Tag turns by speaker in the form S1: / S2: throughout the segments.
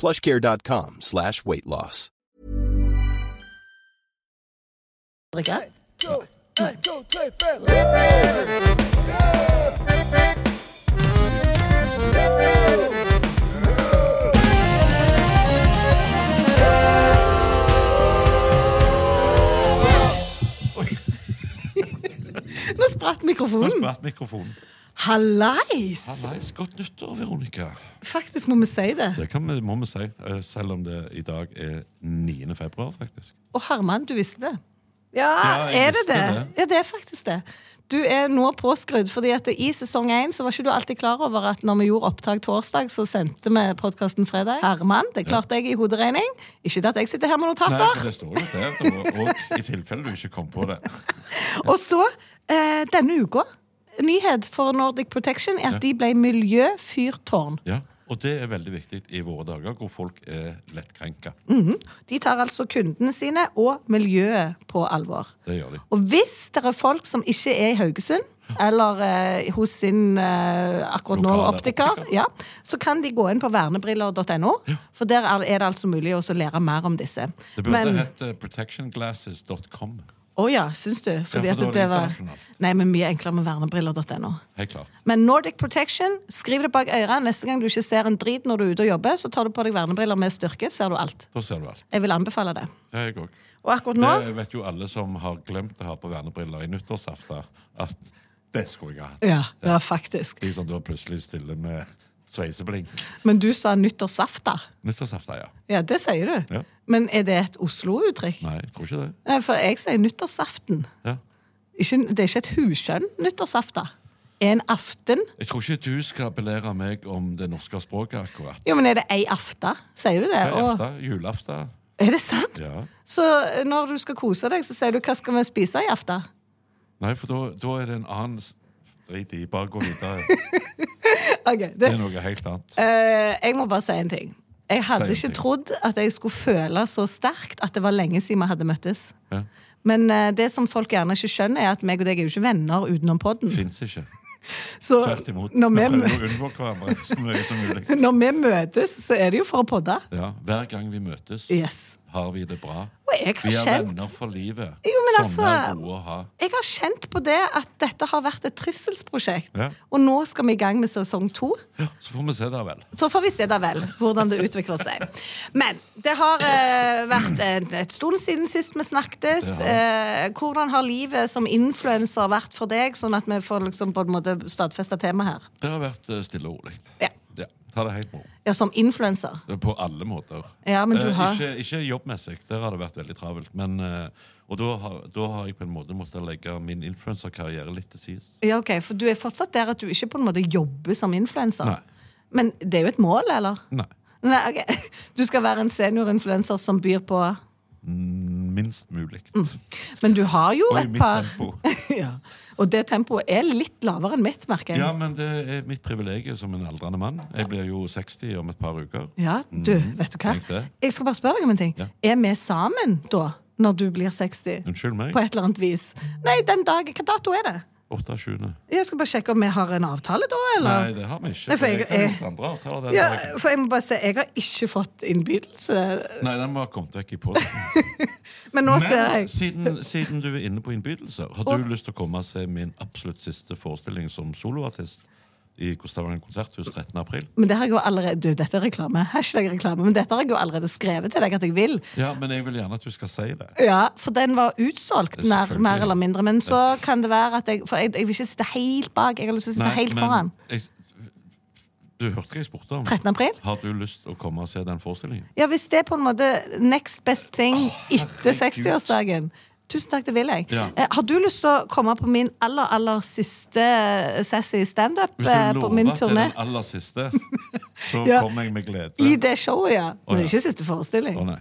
S1: plushcare.com slash weight loss.
S2: Drikke? Nå spratt
S3: Nå
S2: mikrofonen.
S3: spratt mikrofonen.
S2: Hallais!
S3: Hallais, godt nyttår, Veronica.
S2: Faktisk må vi si det.
S3: Det kan vi, må vi si, eh, selv om det i dag er 9. februar, faktisk.
S2: Og Herman, du visste det. Ja,
S3: Ja, jeg
S2: er det
S3: visste
S2: det?
S3: det.
S2: Ja, det er faktisk det. Du er nå påskrudd, fordi at i sesong én så var ikke du alltid klar over at når vi gjorde opptak torsdag, så sendte vi podkasten fredag. Herman, det klarte jeg i hoderegning. Ikke det at jeg sitter her med
S3: Nei,
S2: notater.
S3: for det står jo der, og, og i tilfelle du ikke kom på det.
S2: Og så, eh, denne uka, nyhet for Nordic Protection er at de ble miljøfyrtårn.
S3: Ja, Og det er veldig viktig i våre dager, hvor folk er lettkrenka.
S2: Mm. De tar altså kundene sine og miljøet på alvor.
S3: Det gjør de.
S2: Og hvis det er folk som ikke er i Haugesund, eller eh, hos sin eh, akkurat nå
S3: Lokale
S2: optiker,
S3: optiker.
S2: ja, så kan de gå inn på vernebriller.no, for der er er det altså mulig også å lære mer om disse.
S3: Det burde
S2: Men,
S3: hett eh, protectionglasses.com.
S2: å ja, syns du? Fordi
S3: Ja,
S2: at
S3: for da er det
S2: det var
S3: internasjonalt.
S2: Nei, men mye enklere med vernebriller.no.
S3: Helt klart.
S2: Men Nordic Protection, skriv det bak øret. Neste gang du ikke ser en drit når du er ute og jobber, så tar du på deg vernebriller med styrke, ser du alt.
S3: Da ser du alt.
S2: Jeg vil anbefale det.
S3: Ja, jeg òg.
S2: Og akkurat nå
S3: Det vet jo alle som har glemt å ha på vernebriller i nyttårsaften, at det skulle jeg ha hatt.
S2: Ja, ja, faktisk.
S3: De som da plutselig stiller med sveiseblink.
S2: Men du sa nyttårsaften.
S3: Nyttårsaften, ja.
S2: Ja, det sier du.
S3: Ja.
S2: Men er det et Oslo-uttrykk?
S3: Nei, jeg tror ikke det.
S2: Nei, For jeg sier nyttårsaften.
S3: Ja.
S2: Ikke, det er ikke et huskjønn nyttårsaften. En aften?
S3: Jeg tror ikke du skal belære meg om det norske språket akkurat.
S2: Jo, men er det ei aften? Sier du det?
S3: Det er
S2: Og,
S3: aften, julaften.
S2: er det sant?
S3: Ja.
S2: Så når du skal kose deg, så sier du 'hva skal vi spise i aften'?
S3: Nei, for da, da er det en annen s- Drit i, bare gå videre.
S2: Ok,
S3: Det
S2: det,
S3: er noe helt annet.
S2: Eh, jeg må bare si en ting. Jeg hadde
S3: en
S2: ikke
S3: ting.
S2: trodd at jeg skulle føle så sterkt at det var lenge siden vi hadde møttes.
S3: Ja.
S2: Men eh, det som folk gjerne ikke skjønner, er at meg og deg er jo ikke venner utenom podden.
S3: Fins ikke.
S2: Så
S3: Tvert imot.
S2: når vi,
S3: Vi
S2: mø-
S3: prøver å unngå hverandre så mye som mulig.
S2: når vi møtes, så er det jo for å podde.
S3: Ja, hver gang vi møtes,
S2: Yes.
S3: har vi det bra.
S2: Og jeg har
S3: Vi er
S2: kjent-
S3: venner for livet.
S2: Jo, men
S3: Sånne
S2: altså-
S3: er gode å ha.
S2: Jeg har kjent på det at dette har vært et trivselsprosjekt.
S3: Ja.
S2: Og nå skal vi i gang med sesong to.
S3: Så får vi se, da vel.
S2: Så får vi se da vel hvordan det utvikler seg. Men det har eh, vært en, et stund siden sist vi snakkes.
S3: Det har
S2: Eh, hvordan har livet som influenser vært for deg, sånn at vi får liksom på en måte stadfesta temaet her?
S3: Det har vært eh, stille og rolig.
S2: Ja.
S3: Ja, ta det helt med ro.
S2: Ja, som influenser.
S3: På alle måter.
S2: Ja, men du
S3: Eh,
S2: har-
S3: ikke, ikke jobbmessig, der har det vært veldig travelt. Men, eh, og da har, da har jeg på en måte måttet legge min influenserkarriere litt til side.
S2: Ja, ok, For du er fortsatt der at du ikke på en måte jobber som influenser.
S3: Nei.
S2: Men det er jo et mål, eller?
S3: Nei.
S2: Nei, ok. Du skal være en seniorinfluenser som byr på
S3: minst mulig.
S2: Mm, Men du har jo
S3: Og i
S2: et
S3: mitt
S2: par
S3: tempo.
S2: ja. Og det tempoet er litt lavere enn mitt, merker jeg.
S3: Ja, men det er mitt privilegium som en aldrende mann. Jeg blir jo 60 om et par uker.
S2: Ja, du, vet du hva?
S3: Mm, tenk det.
S2: Jeg skal bare spørre deg om en ting.
S3: Ja.
S2: Er vi sammen da, når du blir 60?
S3: Unnskyld meg.
S2: På et eller annet vis. Nei, den dagen, hva dato er det?
S3: 8.7.
S2: Jeg skal bare sjekke om vi har en avtale da, eller?
S3: Nei, det har vi ikke.
S2: Nei, for
S3: for
S2: jeg-
S3: jeg har
S2: jeg-
S3: gjort andre avtaler den
S2: ja,
S3: dagen.
S2: for jeg må bare si, jeg har ikke fått innbydelse.
S3: Nei, den må ha kommet vekk i posten.
S2: Men nå ser
S3: Men
S2: jeg.
S3: siden, siden du er inne på innbydelser, har du lyst til å komme og se min absolutt siste forestilling som soloartist i Kostavangen konserthus 13. april?
S2: Men det har jeg jo allerede, du, dette er reklame. Hashtag reklame. Men dette har jeg jo allerede skrevet til deg at jeg vil.
S3: Ja, men jeg vil gjerne at du skal si det.
S2: Ja, for den var utsolgt,
S3: Det er
S2: nær,
S3: selvfølgelig.
S2: mer eller mindre. Men så kan det være at jeg For jeg, jeg vil ikke sitte helt bak. Jeg har lyst til å sitte
S3: Nei,
S2: helt
S3: men
S2: foran.
S3: jeg- Du hørte hva jeg spurte om.
S2: 13. april?
S3: Har du lyst til å komme og se den forestillingen?
S2: Ja, hvis det er på en måte next best thing etter 60-årsdagen. Tusen takk, det vil jeg.
S3: Ja.
S2: Eh, har du lyst til å komme på min aller, aller siste sassy standup
S3: Hvis
S2: eh,
S3: du
S2: på min
S3: lover til
S2: turné?
S3: den aller siste, så
S2: Ja.
S3: kommer jeg
S2: I
S3: med glede.
S2: det showet, ja. Men det er
S3: ja.
S2: ikke siste forestilling.
S3: Å, nei.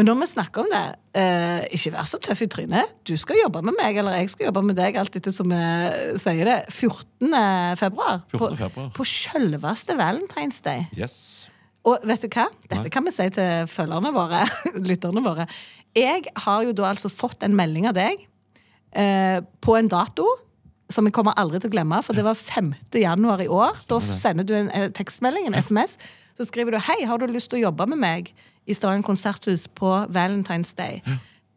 S2: Men når vi snakker om det, eh, ikke vær så tøff i trynet. Du skal jobbe med meg, eller jeg skal jobbe med deg, alt etter som vi sier det. 14. februar.
S3: 14. februar.
S2: På, på selveste Valentine's Day.
S3: Yes.
S2: Og vet du hva? Dette kan vi si til følgerne våre, lytterne våre. Jeg har jo da altså fått en melding av deg eh, på en dato som jeg kommer aldri til å glemme, for det var 5. januar i år. Da sender du en eh, tekstmelding, en SMS, så skriver du 'Hei, har du lyst til å jobbe med meg i Stavanger konserthus på Valentine's Day'?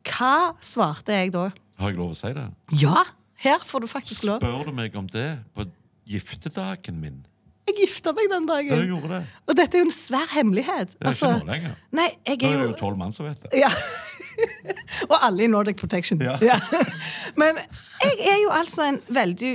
S2: Hva svarte jeg da?
S3: Har jeg lov å si det?
S2: Ja! Her får du faktisk lov.
S3: Spør du meg om det på giftedagen min?
S2: Jeg gifta meg den
S3: Ja, du
S2: dagen.
S3: gjorde det.
S2: Og dette er jo en svær hemmelighet. Altså,
S3: Det er ikke nå lenger.
S2: Nei, jeg
S3: Nå er
S2: er
S3: det
S2: jo
S3: jo tolv mann som vet det.
S2: Ja. og alle i Nordic Protection.
S3: Ja.
S2: Ja. Men jeg er jo altså en veldig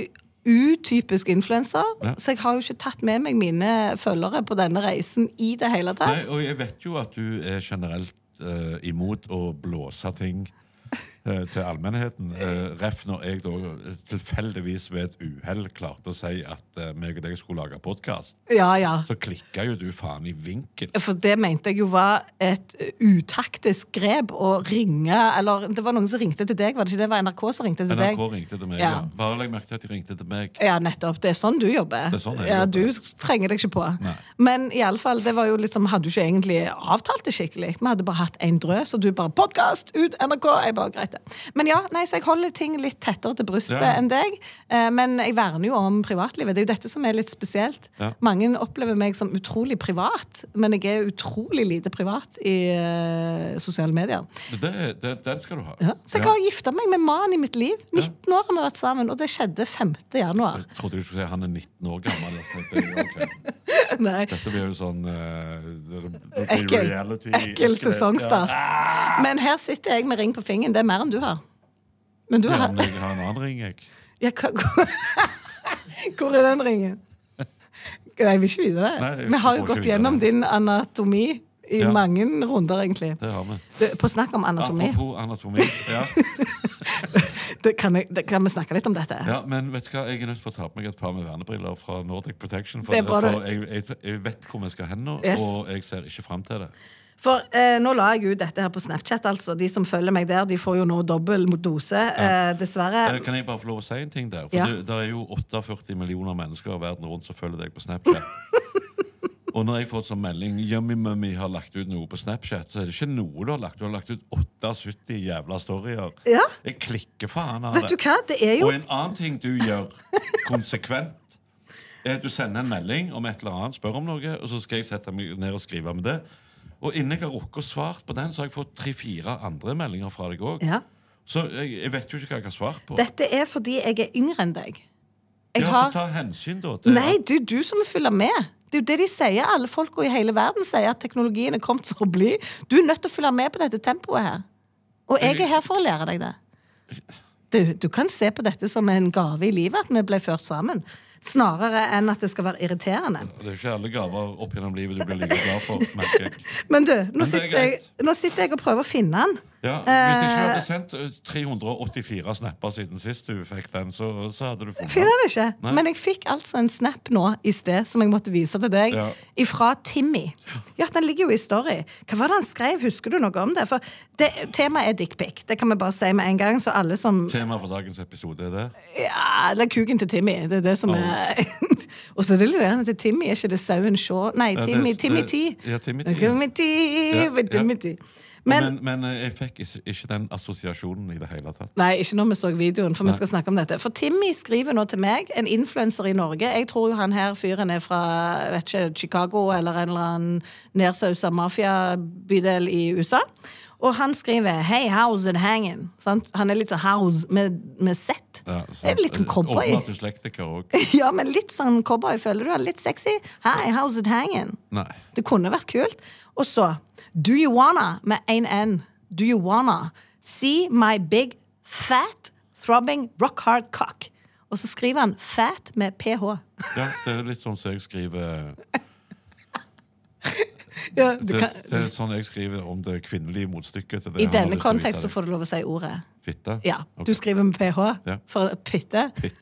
S2: utypisk influenser,
S3: Ja.
S2: så jeg har jo ikke tatt med meg mine følgere på denne reisen i det hele tatt.
S3: Nei, og jeg vet jo at du er generelt eh, imot å blåse ting eh, til allmennheten. Eh, ref når jeg da eh, tilfeldigvis ved et uhell klarte å si at uh, meg og deg skulle lage podkast,
S2: Ja, ja.
S3: så klikka jo du faen i vinkel.
S2: For det mente jeg jo var et uh, utaktisk grep å ringe Eller det var noen som ringte til deg, var det ikke det? Det var NRK som ringte til deg?
S3: NRK ringte til meg. Ja.
S2: Ja.
S3: Bare legg merke til at de ringte til meg.
S2: Ja, nettopp. Det er sånn du jobber.
S3: Det er sånn jeg
S2: ja,
S3: jobber.
S2: Du trenger deg ikke på.
S3: Nei.
S2: Men i alle fall, det var jo liksom, hadde jo ikke egentlig avtalt det skikkelig. Vi hadde bare hatt én drøs, og du bare 'Podkast! Ut! NRK!' Jeg bare greit, det. Men ja, nei, så jeg holder ting litt tettere til brystet
S3: Ja.
S2: enn deg. Eh, Men jeg verner jo om privatlivet. Det er jo dette som er litt spesielt.
S3: Ja.
S2: Mange opplever meg som utrolig privat, men jeg er utrolig lite privat i eh, sosiale medier.
S3: Det, det, den skal du ha.
S2: Ja. Så jeg
S3: Ja.
S2: har gifta meg med mannen i mitt liv. 19 år har vi vært sammen, og det skjedde 5. januar.
S3: Jeg trodde du skulle si han er 19 år gammel. Jeg tenkte, ja, ok.
S2: Nei.
S3: Dette blir jo sånn eh, det blir
S2: Ekkel,
S3: reality-
S2: ekkel sesongstart. Men her sitter jeg med ring på fingeren. Det er mer enn du har. Men du
S3: Ja,
S2: har
S3: men jeg har en annen ring, jeg.
S2: ja, hva, hvor, hvor er den ringen? Nei, jeg vil ikke vite
S3: Nei,
S2: det.
S3: jeg
S2: Vi har
S3: får
S2: jo
S3: ikke
S2: gått
S3: vite
S2: gjennom
S3: det.
S2: din anatomi i
S3: Ja.
S2: mange runder, egentlig.
S3: Det har vi.
S2: Du, På snakk om anatomi.
S3: Apropos anatomi. Ja.
S2: Det kan, jeg, det kan vi snakke litt om dette?
S3: Ja, men vet du hva? Jeg er nødt til å ta på meg et par med vernebriller fra Nordic Protection. For,
S2: Det er bra,
S3: for
S2: du.
S3: jeg, jeg, jeg vet hvor vi skal hen nå,
S2: Yes.
S3: og jeg ser ikke fram til det.
S2: For eh, nå la jeg ut dette her på Snapchat, altså. De som følger meg der, de får jo nå dobbel dose, eh, dessverre.
S3: Eh, Kan jeg bare få lov å si en ting der? For
S2: Ja.
S3: det, det er jo 48 millioner mennesker verden rundt som følger deg på Snapchat. Og når jeg får sånn melding Yummy Mummy har lagt ut noe på Snapchat, så er det ikke noe du har lagt ut. Du har lagt ut 78 jævla storyer.
S2: Ja.
S3: Jeg klikker faen av
S2: Vet du hva? Det er jo
S3: Og en annen ting du gjør konsekvent, er at du sender en melding om et eller annet, spør om noe, og så skal jeg sette meg ned og skrive med det. Og innen jeg har rukket å svart på den, så har jeg fått tre-fire andre meldinger fra deg òg.
S2: Ja.
S3: Så jeg, jeg vet jo ikke hva jeg har svart på.
S2: Dette er fordi jeg er yngre enn deg. Jeg
S3: ja,
S2: har...
S3: så ta hensyn, da. til
S2: Nei,
S3: at-
S2: det er jo du som følger med. Det er jo det de sier. Alle folk i hele verden sier at teknologien er kommet for å bli. Du er nødt til å følge med på dette tempoet her. Og jeg er her for å lære deg det. Du, du kan se på dette som en gave i livet, at vi ble ført sammen. snarere enn at det skal være irriterende.
S3: Det er ikke alle gaver opp gjennom livet du blir like glad for, merker jeg.
S2: Men du, nå,
S3: det er
S2: sitter jeg,
S3: greit.
S2: nå sitter jeg og prøver å finne den.
S3: Ja, hvis ikke du hadde sendt eh, 384 snapper siden sist du fikk den, så, så hadde du funnet
S2: Finner den ikke.
S3: Nei.
S2: Men jeg fikk altså en snap nå i sted som jeg måtte vise til deg,
S3: Ja.
S2: ifra Timmy. Ja, den ligger jo i Story. Hva var det han skrev? Husker du noe om det? For det, temaet er dickpic. Det kan vi bare si med en gang, så alle som
S3: Tema for dagens episode er det.
S2: Ja, eller kuken til Timmy. Det er det som er Og så er det litt det til Timmy, er ikke det sauen Shaw? Nei,
S3: det-
S2: Timmy,
S3: det-
S2: Timmy T.
S3: ja, Timmy T, ja.
S2: Timmy T.
S3: Ja, ja.
S2: Timmy T. Men,
S3: Men, men, eh, jeg fikk is- ikke den assosiasjonen i det hele tatt.
S2: Nei, ikke når vi så videoen, for vi skal snakke om dette. For Timmy skriver nå til meg, en influenser i Norge. Jeg tror jo han her fyren er fra vet ikke, Chicago eller en eller annen nedsausa mafiabydel i USA. Og han skriver 'Hey, how's it hanging?' Sant? Han er litt sånn house med, med Z.
S3: Ja, eh,
S2: det er litt som cowboy.
S3: Åpenbart dyslektiker òg.
S2: Ja, men litt sånn cowboy, føler du? han? Litt sexy? 'Hi, how's it hanging?'
S3: Nei.
S2: Det kunne vært kult. Og så Do you wanna med en N. Do you wanna see my big fat throbbing rock hard cock? Og så skriver han fat med ph.
S3: Ja, det er litt sånn som jeg skriver
S2: Ja, du
S3: det,
S2: kan,
S3: det er sånn jeg skriver om det kvinnelige motstykket til det.
S2: I
S3: han har
S2: denne
S3: lyst til å vise
S2: kontekst så
S3: deg.
S2: får du lov å si ordet.
S3: Fitte?
S2: Ja,
S3: Ok.
S2: Du skriver med ph
S3: Ja.
S2: for pitte.
S3: Fitte.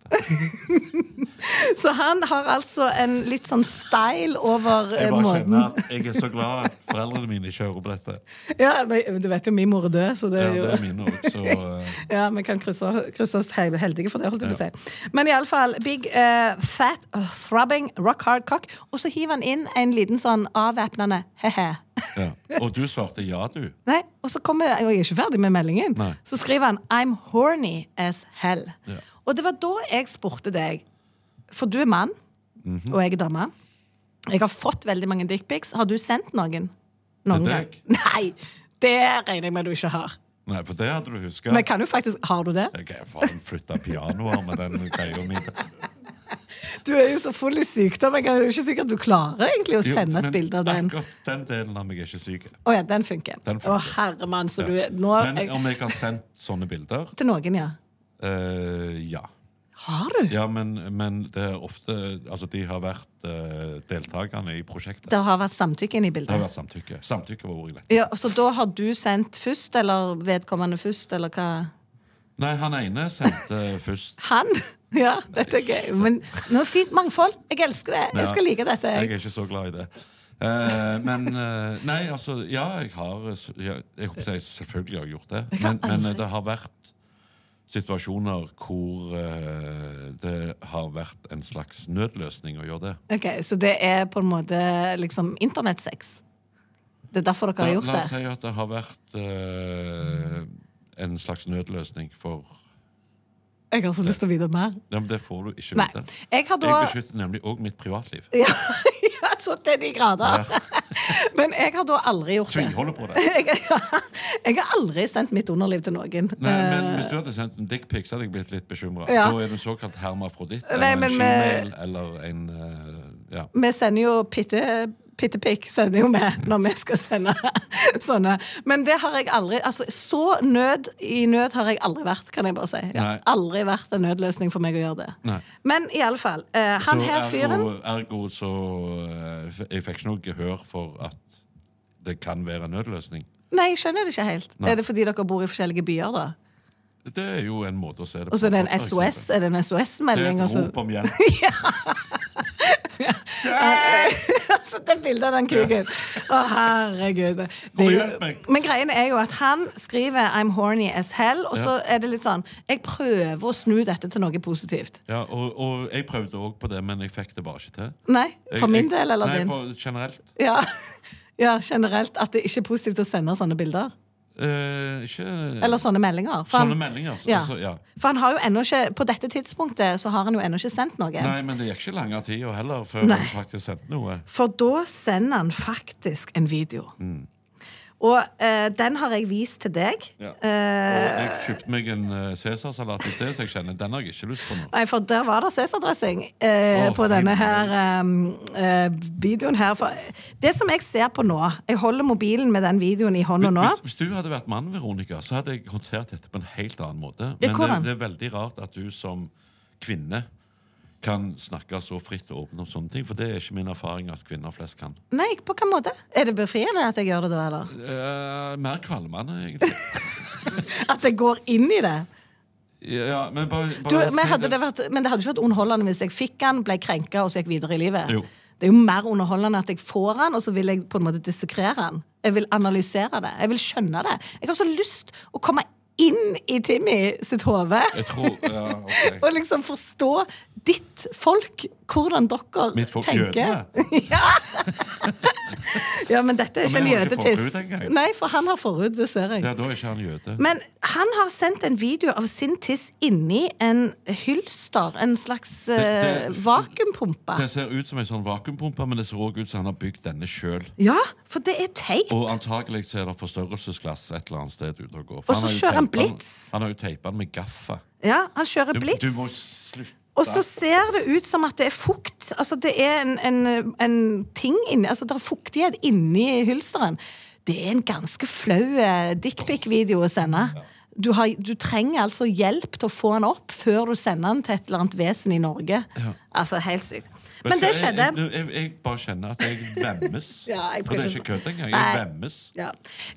S2: Så han har altså en litt sånn style over eh,
S3: Jeg bare
S2: måten
S3: kjenner at jeg er så glad at foreldrene mine ikke hører på dette.
S2: ja, men Du vet jo min mor er død, så det
S3: Ja,
S2: er jo
S3: det er mine også, så eh,
S2: Ja, vi kan krysse, krysse oss he- heldige for det, holdt jeg på å si. Men iallfall big eh, fat uh, throbbing rock hard cock. Og så hiver han inn en liten sånn avvæpnende he-he.
S3: ja. Og du svarte ja, du.
S2: Nei, Og så kommer jeg, og jeg er ikke ferdig med meldingen.
S3: Nei.
S2: Så skriver han 'I'm horny as hell'.
S3: Ja.
S2: Og det var da jeg spurte deg, for du er mann,
S3: Mhm.
S2: og jeg er dame. Jeg har fått veldig mange dickpics. Har du sendt noen? Noen gang?
S3: deg?
S2: Nei! Det regner jeg med du ikke har.
S3: Nei, for det hadde du huska.
S2: Men kan du faktisk, har du det?
S3: Jeg kan faen flytte pianoer med den greia mi.
S2: Du er jo så full i sykdom. Jeg er jo ikke sikker at du klarer egentlig å
S3: Jo,
S2: sende et
S3: men
S2: bilde av den. Å
S3: Akkurat den delen av meg er ikke syk.
S2: ja, den funker.
S3: Den funker.
S2: Å herremann, så du er Nå
S3: Men
S2: jeg,
S3: om jeg har sendt sånne bilder?
S2: Til noen, ja.
S3: Eh, ja.
S2: Har du?
S3: Ja, men, men det er ofte Altså, de har vært eh, deltakerne i prosjektet.
S2: Det har vært samtykke inne i
S3: Det har
S2: bildet.
S3: vært samtykke. Samtykke var ordet jeg lette.
S2: Ja, så da har du sendt først, eller vedkommende først, eller hva?
S3: Nei, han ene sendte først.
S2: Han? Ja, dette er gøy. Men nå er det fint mangfold. Jeg elsker det. Jeg skal like dette.
S3: Jeg
S2: Jeg.
S3: er ikke så glad i det. Eh, men eh, Nei, altså Ja, jeg har eh, s- ja, Jeg håper jeg selvfølgelig har gjort det. Men, men eh, det har vært situasjoner hvor eh, det har vært en slags nødløsning å gjøre det.
S2: Ok, Så det er på en måte liksom internettsex? Det er derfor dere har gjort
S3: la
S2: det?
S3: oss si at det har vært eh, en slags nødløsning for
S2: Jeg har så lyst til å vite mer.
S3: Ja, men Det får du ikke
S2: Nei.
S3: vite.
S2: Jeg har da
S3: Jeg beskytter nemlig òg mitt privatliv.
S2: Ja, ja så til de grader. Men jeg har da aldri gjort det.
S3: Tviholder på det.
S2: Jeg, jeg har aldri sendt mitt underliv til noen.
S3: Nei, men
S2: Eh,
S3: Hvis du hadde sendt en dickpic, så hadde jeg blitt litt bekymra.
S2: Ja.
S3: Da er du såkalt hermafroditt
S2: Nei,
S3: eller en
S2: men med-
S3: gmail eller en eh, ja.
S2: vi sender jo pitte... Pittepikk sender jo med når vi skal sende sånne. Men det har jeg aldri altså Så nød i nød har jeg aldri vært, kan jeg bare si. Jeg har
S3: Nei.
S2: aldri vært en nødløsning for meg å gjøre det.
S3: Nei.
S2: Men i alle fall, eh, han
S3: Så
S2: her fyren
S3: ergo, ergo så eh, f- Jeg fikk ikke noe gehør for at det kan være en nødløsning.
S2: Nei, jeg skjønner det ikke helt.
S3: Nei.
S2: Er det fordi dere bor i forskjellige byer, da?
S3: Det er jo en måte å se det på.
S2: Og så er det en
S3: for eksempel.
S2: SOS? Er det en
S3: Det er
S2: SOS-melding?
S3: et rop om hjelp.
S2: altså, det bildet av den kuken. Å, herregud. Det er
S3: hjelp
S2: jo,
S3: meg.
S2: men greien er jo at han skriver 'I'm horny as hell', og så er det litt sånn Jeg prøver å snu dette til noe positivt.
S3: Ja, og, og jeg prøvde òg på det, men jeg fikk det bare ikke til.
S2: Nei, for
S3: Jeg-
S2: min
S3: jeg-
S2: del eller
S3: nei,
S2: din?
S3: for generelt.
S2: Ja. ja, generelt. At det ikke er positivt å sende sånne bilder.
S3: Eh, ikke
S2: Eller sånne meldinger. For
S3: sånne
S2: han-
S3: meldinger. så-
S2: Ja.
S3: så, ja.
S2: For han har jo ennå ikke På dette tidspunktet så har han jo ennå ikke sendt noe.
S3: Nei, men det gikk ikke lange tida heller før
S2: Nei.
S3: jeg faktisk sendte noe.
S2: For da sender han faktisk en video.
S3: Mm.
S2: Og eh, den har jeg vist til deg.
S3: Ja.
S2: Eh,
S3: Og jeg kjøpte meg en eh, Cæsarsalat i sted, så jeg kjenner den har jeg ikke lyst på nå.
S2: Nei, for der var det Cæsar-dressing eh,
S3: Åh,
S2: på denne her
S3: himmel.
S2: eh, eh, videoen her. For det som jeg ser på nå Jeg holder mobilen med den videoen i hånda nå.
S3: Hvis, hvis du hadde vært mann, Veronica, så hadde jeg håndtert dette på en helt annen måte.
S2: Ja,
S3: Men det,
S2: hvordan?
S3: det er veldig rart at du som kvinne kan snakke så fritt og åpent om sånne ting. For det er ikke min erfaring at kvinner flest kan.
S2: Nei, på hvilken måte? Er det befriende at jeg gjør det da, eller?
S3: Eh, mer kvalmende, egentlig.
S2: At jeg går inn i det?
S3: Ja, men bare,
S2: Du,
S3: bare
S2: men,
S3: si
S2: hadde det vært, men det hadde ikke vært underholdende hvis jeg fikk den, ble krenka og så gikk videre i livet.
S3: Jo.
S2: Det er jo mer underholdende at jeg får den, og så vil jeg på en måte dissekrere den. Jeg vil analysere det. Jeg vil skjønne det. Jeg har så lyst å komme inn i Timmy sitt hode.
S3: Jeg tror, ja, ok.
S2: Og liksom forstå ditt folk, hvordan dere
S3: Mitt folk
S2: tenker.
S3: jødene.
S2: ja. ja, men dette er
S3: Ja,
S2: ikke en
S3: men han har ikke
S2: jødetiss.
S3: forhud engang.
S2: Nei, for han har forhud, det ser jeg.
S3: Ja, da er ikke han jøde.
S2: Men han har sendt en video av sin tiss inni en hylster, en slags eh,
S3: det-
S2: vakuumpumpe.
S3: Det ser ut som en sånn vakuumpumpe, men det ser også ut som han har bygd denne sjøl.
S2: Ja, for det er teip.
S3: Og antakelig så er det forstørrelsesglass et eller annet sted ute og går.
S2: Og så
S3: har jo
S2: kjører han
S3: teipet den-
S2: blitz.
S3: Han har jo teipa den med gaffa.
S2: Ja, han kjører
S3: Du,
S2: blitz.
S3: du må slutte.
S2: Og så ser det ut som at det er fukt. Altså det er en, en, en ting inni Altså det er fuktighet inni hylsteren. Det er en ganske flau eh, dickpic-video å sende. Du, har, du trenger altså hjelp til å få den opp før du sender den til et eller annet vesen i Norge. Altså, helt sykt.
S3: Vet
S2: Men
S3: du,
S2: det
S3: jeg-
S2: skjedde.
S3: Jeg, jeg, jeg bare kjenner at jeg vemmes.
S2: Ja, jeg skal
S3: og det er
S2: ikke-
S3: ikke kødd engang.
S2: Nei.
S3: Jeg vemmes.
S2: Ja.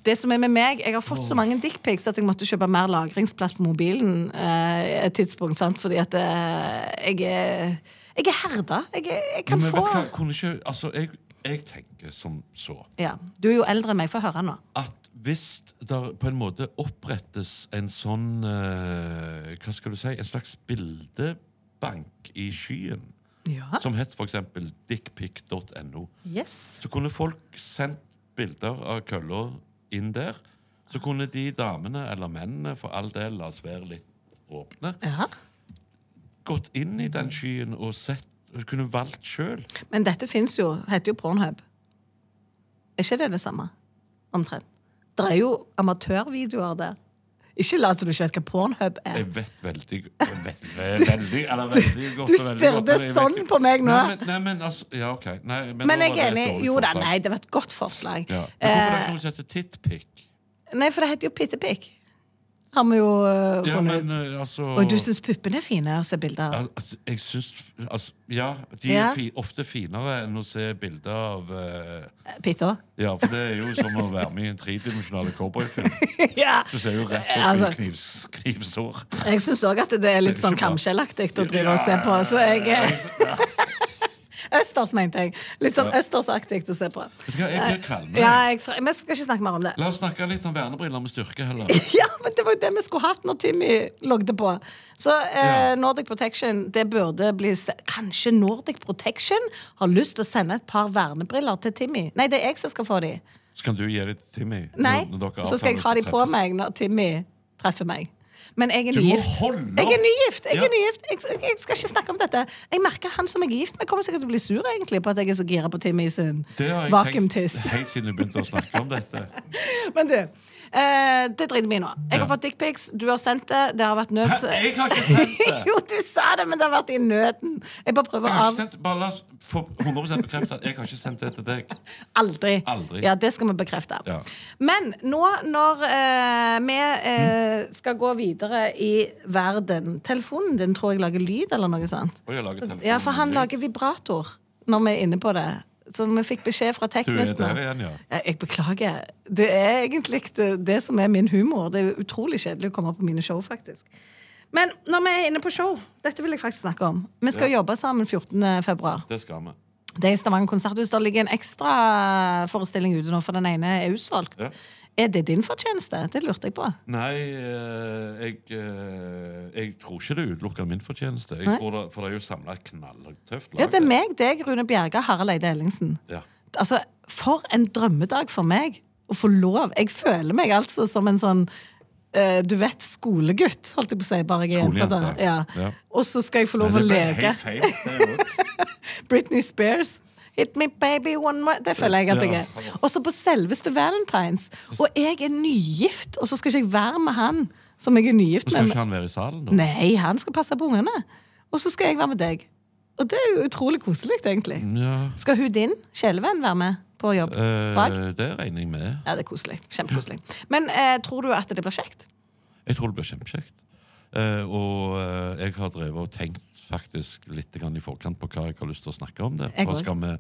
S2: Det som er med meg, Jeg har fått så mange dickpics at jeg måtte kjøpe mer lagringsplass på mobilen. Eh, et tidspunkt, sant? Fordi at eh, jeg er Jeg er herda. Jeg, er- jeg kan
S3: Men vet
S2: få
S3: du hva, kunne ikke Altså, jeg, jeg tenker som så
S2: ja. Du er jo eldre enn meg. Få høre nå.
S3: at hvis det på en måte opprettes en sånn eh, Hva skal du si? En slags bildebank i skyen,
S2: Ja.
S3: som het for eksempel dickpic.no.
S2: Yes.
S3: Så kunne folk sendt bilder av kølla inn der. Så kunne de damene, eller mennene, for all del, la oss være litt åpne,
S2: Ja.
S3: gått inn i den skyen og sett kunne valgt sjøl.
S2: Men dette fins jo. Heter jo Pornhub. Er ikke det det samme? Omtrent. Det er jo amatørvideoer der. Ikke lat som du ikke vet hva Pornhub er.
S3: Jeg vet veldig jeg vet, ve- veldig, eller veldig godt
S2: du
S3: og veldig
S2: stirrer
S3: godt, men jeg vet
S2: sånn
S3: ikke-
S2: på meg nå.
S3: Nei, men, nei, men altså Ja, OK. Nei, men
S2: Men
S3: da
S2: jeg
S3: var
S2: er
S3: det et
S2: enig.
S3: dårlig
S2: Jo da,
S3: forslag.
S2: nei, det var et godt forslag. Eh,
S3: Ja. Men hvorfor er det noe som heter tittpic?
S2: Nei, for det heter jo Pittepikk. Har vi jo øh,
S3: Ja,
S2: funnet
S3: men
S2: ut.
S3: eh, altså
S2: Og du syns puppene er fine å se bilder av?
S3: Altså, jeg syns altså, Ja, de
S2: Ja.
S3: er fi, ofte finere enn å se bilder av eh,
S2: Pitta?
S3: Ja, for det er jo som å være med i en tredimensjonal cowboyfilm.
S2: ja.
S3: Du ser jo rett opp
S2: Altså.
S3: i knivs, knivsår.
S2: Jeg syns òg at det er litt sånn
S3: Det er ikke
S2: kamskjellaktig å drive og se på. Så jeg Østers, mente jeg. Litt sånn østersaktig å se på.
S3: Vet du hva, jeg blir kvalm.
S2: Ja, jeg, tror- men jeg skal ikke snakke mer om det.
S3: La oss snakke litt om vernebriller med styrke heller.
S2: Ja, men Det var jo det vi skulle hatt når Timmy logde på. Så eh,
S3: Ja.
S2: Nordic Protection det burde bli se Kanskje Nordic Protection har lyst til å sende et par vernebriller til Timmy? Nei, det er jeg som skal få de.
S3: Så kan du gi dem til Timmy. når-
S2: Nei,
S3: når dere
S2: Så skal jeg ha de
S3: avtaler å
S2: på
S3: treffes.
S2: meg når Timmy treffer meg. Men jeg er
S3: Du må
S2: nygift.
S3: holde opp!
S2: Jeg er nygift! Jeg,
S3: Ja.
S2: er nygift. Jeg, jeg, jeg skal ikke snakke om dette. Jeg merker han som jeg er gift med, kommer sikkert til å bli sur egentlig på at jeg er så gira på Timmy sin
S3: Det har jeg
S2: vakuumtiss.
S3: tenkt helt siden vi begynte å snakke om dette.
S2: Men du, eh, det driter vi i nå. Jeg har
S3: Ja.
S2: fått dickpics, du har sendt det, det har vært nød.
S3: Hæ? Jeg har ikke sendt det!
S2: jo, du sa det, men det har vært i nøden. Jeg bare prøver
S3: Jeg har
S2: av
S3: ikke sendt, bare la oss få 100 bekreftet at jeg har ikke sendt det til deg.
S2: Aldri.
S3: Aldri.
S2: Ja, det skal vi bekrefte.
S3: Ja.
S2: Men nå når eh, vi eh,
S3: Mm.
S2: skal gå videre i verden Telefonen din tror jeg lager lyd, eller noe sånt.
S3: Og jeg har laget
S2: Ja, for han lager vibrator når vi er inne på det. Så vi fikk beskjed fra
S3: Du er
S2: teknisk
S3: der
S2: nå.
S3: igjen, ja.
S2: Ja, Jeg beklager. Det er egentlig det, det som er min humor. Det er utrolig kjedelig å komme på mine show, faktisk. Men når vi er inne på show, dette vil jeg faktisk snakke om. Vi skal jobbe sammen 14. februar.
S3: Det skal vi.
S2: Det er i Stavanger konserthus. Der ligger en ekstra forestilling ute nå, for den ene er utsolgt.
S3: Ja.
S2: Er det din fortjeneste? Det lurte jeg på.
S3: Nei, eh, jeg, eh, jeg tror ikke det er utelukkende min fortjeneste. Jeg
S2: Nei.
S3: tror det, for det er jo samla et knalltøft lag.
S2: Ja, det er
S3: der.
S2: meg, deg, Rune Bjerga, Harald Eide Ellingsen.
S3: Ja.
S2: Altså, for en drømmedag for meg å få lov. Jeg føler meg altså som en sånn eh, du vet, skolegutt, holdt jeg på å si. Bare jeg er jente. da.
S3: Skolejente.
S2: Ja.
S3: Ja.
S2: Og så skal jeg få lov
S3: Nei,
S2: å
S3: det ble
S2: leke.
S3: helt feil, det er jo-
S2: Britney Spears. Hit me baby one more Det føler jeg at jeg er. Og så på selveste valentines. Og jeg er nygift, og så skal ikke jeg være med han som jeg er nygift
S3: Skal
S2: med.
S3: ikke han være i salen, da?
S2: Nei, han skal passe på ungene. Og så skal jeg være med deg. Og det er jo utrolig koselig, egentlig.
S3: Ja,
S2: Skal hun din kjælevenn være med på jobb?
S3: eh,
S2: Bak?
S3: det regner jeg med.
S2: Ja, det er koselig. Kjempekoselig. Men eh, tror du at det blir kjekt?
S3: Jeg tror det blir kjempekjekt. Eh, og eh, jeg har drevet og tenkt faktisk litt grann i forkant på hva jeg har lyst til å snakke om. det.
S2: Jeg
S3: Og
S2: også.
S3: skal vi,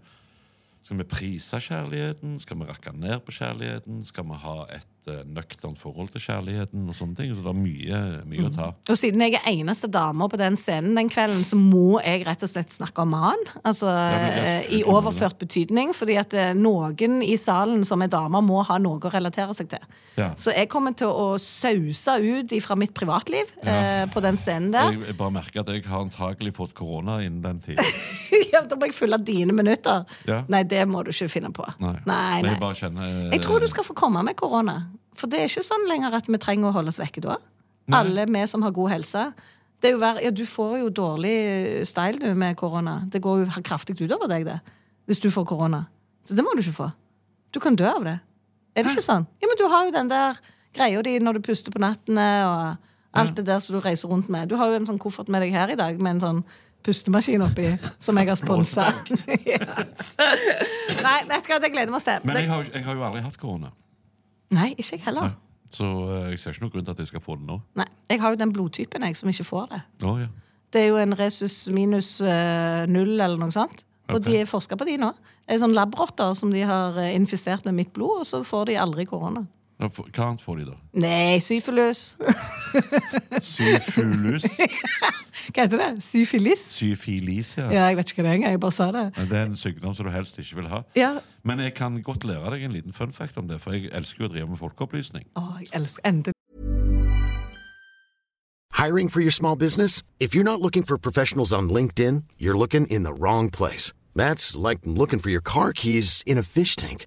S3: skal vi prise kjærligheten? Skal vi rakke ned på kjærligheten? Skal vi ha et eh, nøkternt forhold til kjærligheten? og sånne ting? Så det er mye, mye å ta.
S2: Og siden jeg er eneste dama på den scenen den kvelden, så må jeg rett og slett snakke om han. Altså
S3: men det er
S2: eh, i overført betydning. Fordi at eh, noen i salen som er damer, må ha noe å relatere seg til.
S3: Ja.
S2: Så jeg kommer til å sause ut ifra mitt privatliv eh, på den scenen der.
S3: Jeg, jeg bare merker at jeg har antakelig fått korona innen den tiden.
S2: ja, da må jeg fylle dine minutter.
S3: Ja.
S2: Nei, det må du ikke finne på.
S3: Nei.
S2: nei.
S3: Men
S2: nei.
S3: Jeg bare kjenner eh,
S2: Jeg tror du skal få komme med korona. For det er ikke sånn lenger at vi trenger å holdes vekke da. Alle vi som har god helse. Det er jo vær, ja, du får jo dårlig eh, style du med korona. Det går jo kraftig utover deg, det. Hvis du får korona. Så det må du ikke få. Du kan dø av det. Er det ikke sånn? Ja, men du har jo den der greia di når du puster på nattene, og alt det der som du reiser rundt med. Du har jo en sånn koffert med deg her i dag med en sånn pustemaskin oppi, som jeg har sponsa. ja. Nei, vet du hva, det gleder vi oss til.
S3: Men
S2: Det-
S3: jeg har, jo- jeg har jo aldri hatt korona,
S2: Nei, ikke jeg heller.
S3: så eh, jeg ser ikke noen grunn til at jeg skal få det nå.
S2: Nei. Jeg har jo den blodtypen jeg som ikke får det.
S3: Å, ja.
S2: Det er jo en resus minus eh, null eller noe sånt. Og
S3: Ok.
S2: de er forska på de nå. Det er sånn labrotter som de har eh, infisert med mitt blod, og så får de aldri korona.
S3: Ja, for- Hva annet får de, da?
S2: Nei, syfilus.
S3: Syfulus?
S2: Hva heter det? Syfilis?
S3: Syfilis, ja.
S2: Ja, jeg vet ikke hva det er engang. Jeg bare sa det.
S3: Det er en sykdom som du helst ikke vil ha.
S2: Ja.
S3: Men jeg kan godt lære deg en liten fun fact om det, for jeg elsker jo å drive med folkeopplysning.
S2: Å, jeg elsker endelig.
S4: Hiring for your small business? If you're not looking for professionals on LinkedIn, you're looking in the wrong place. That's like looking for your car keys in a fish tank.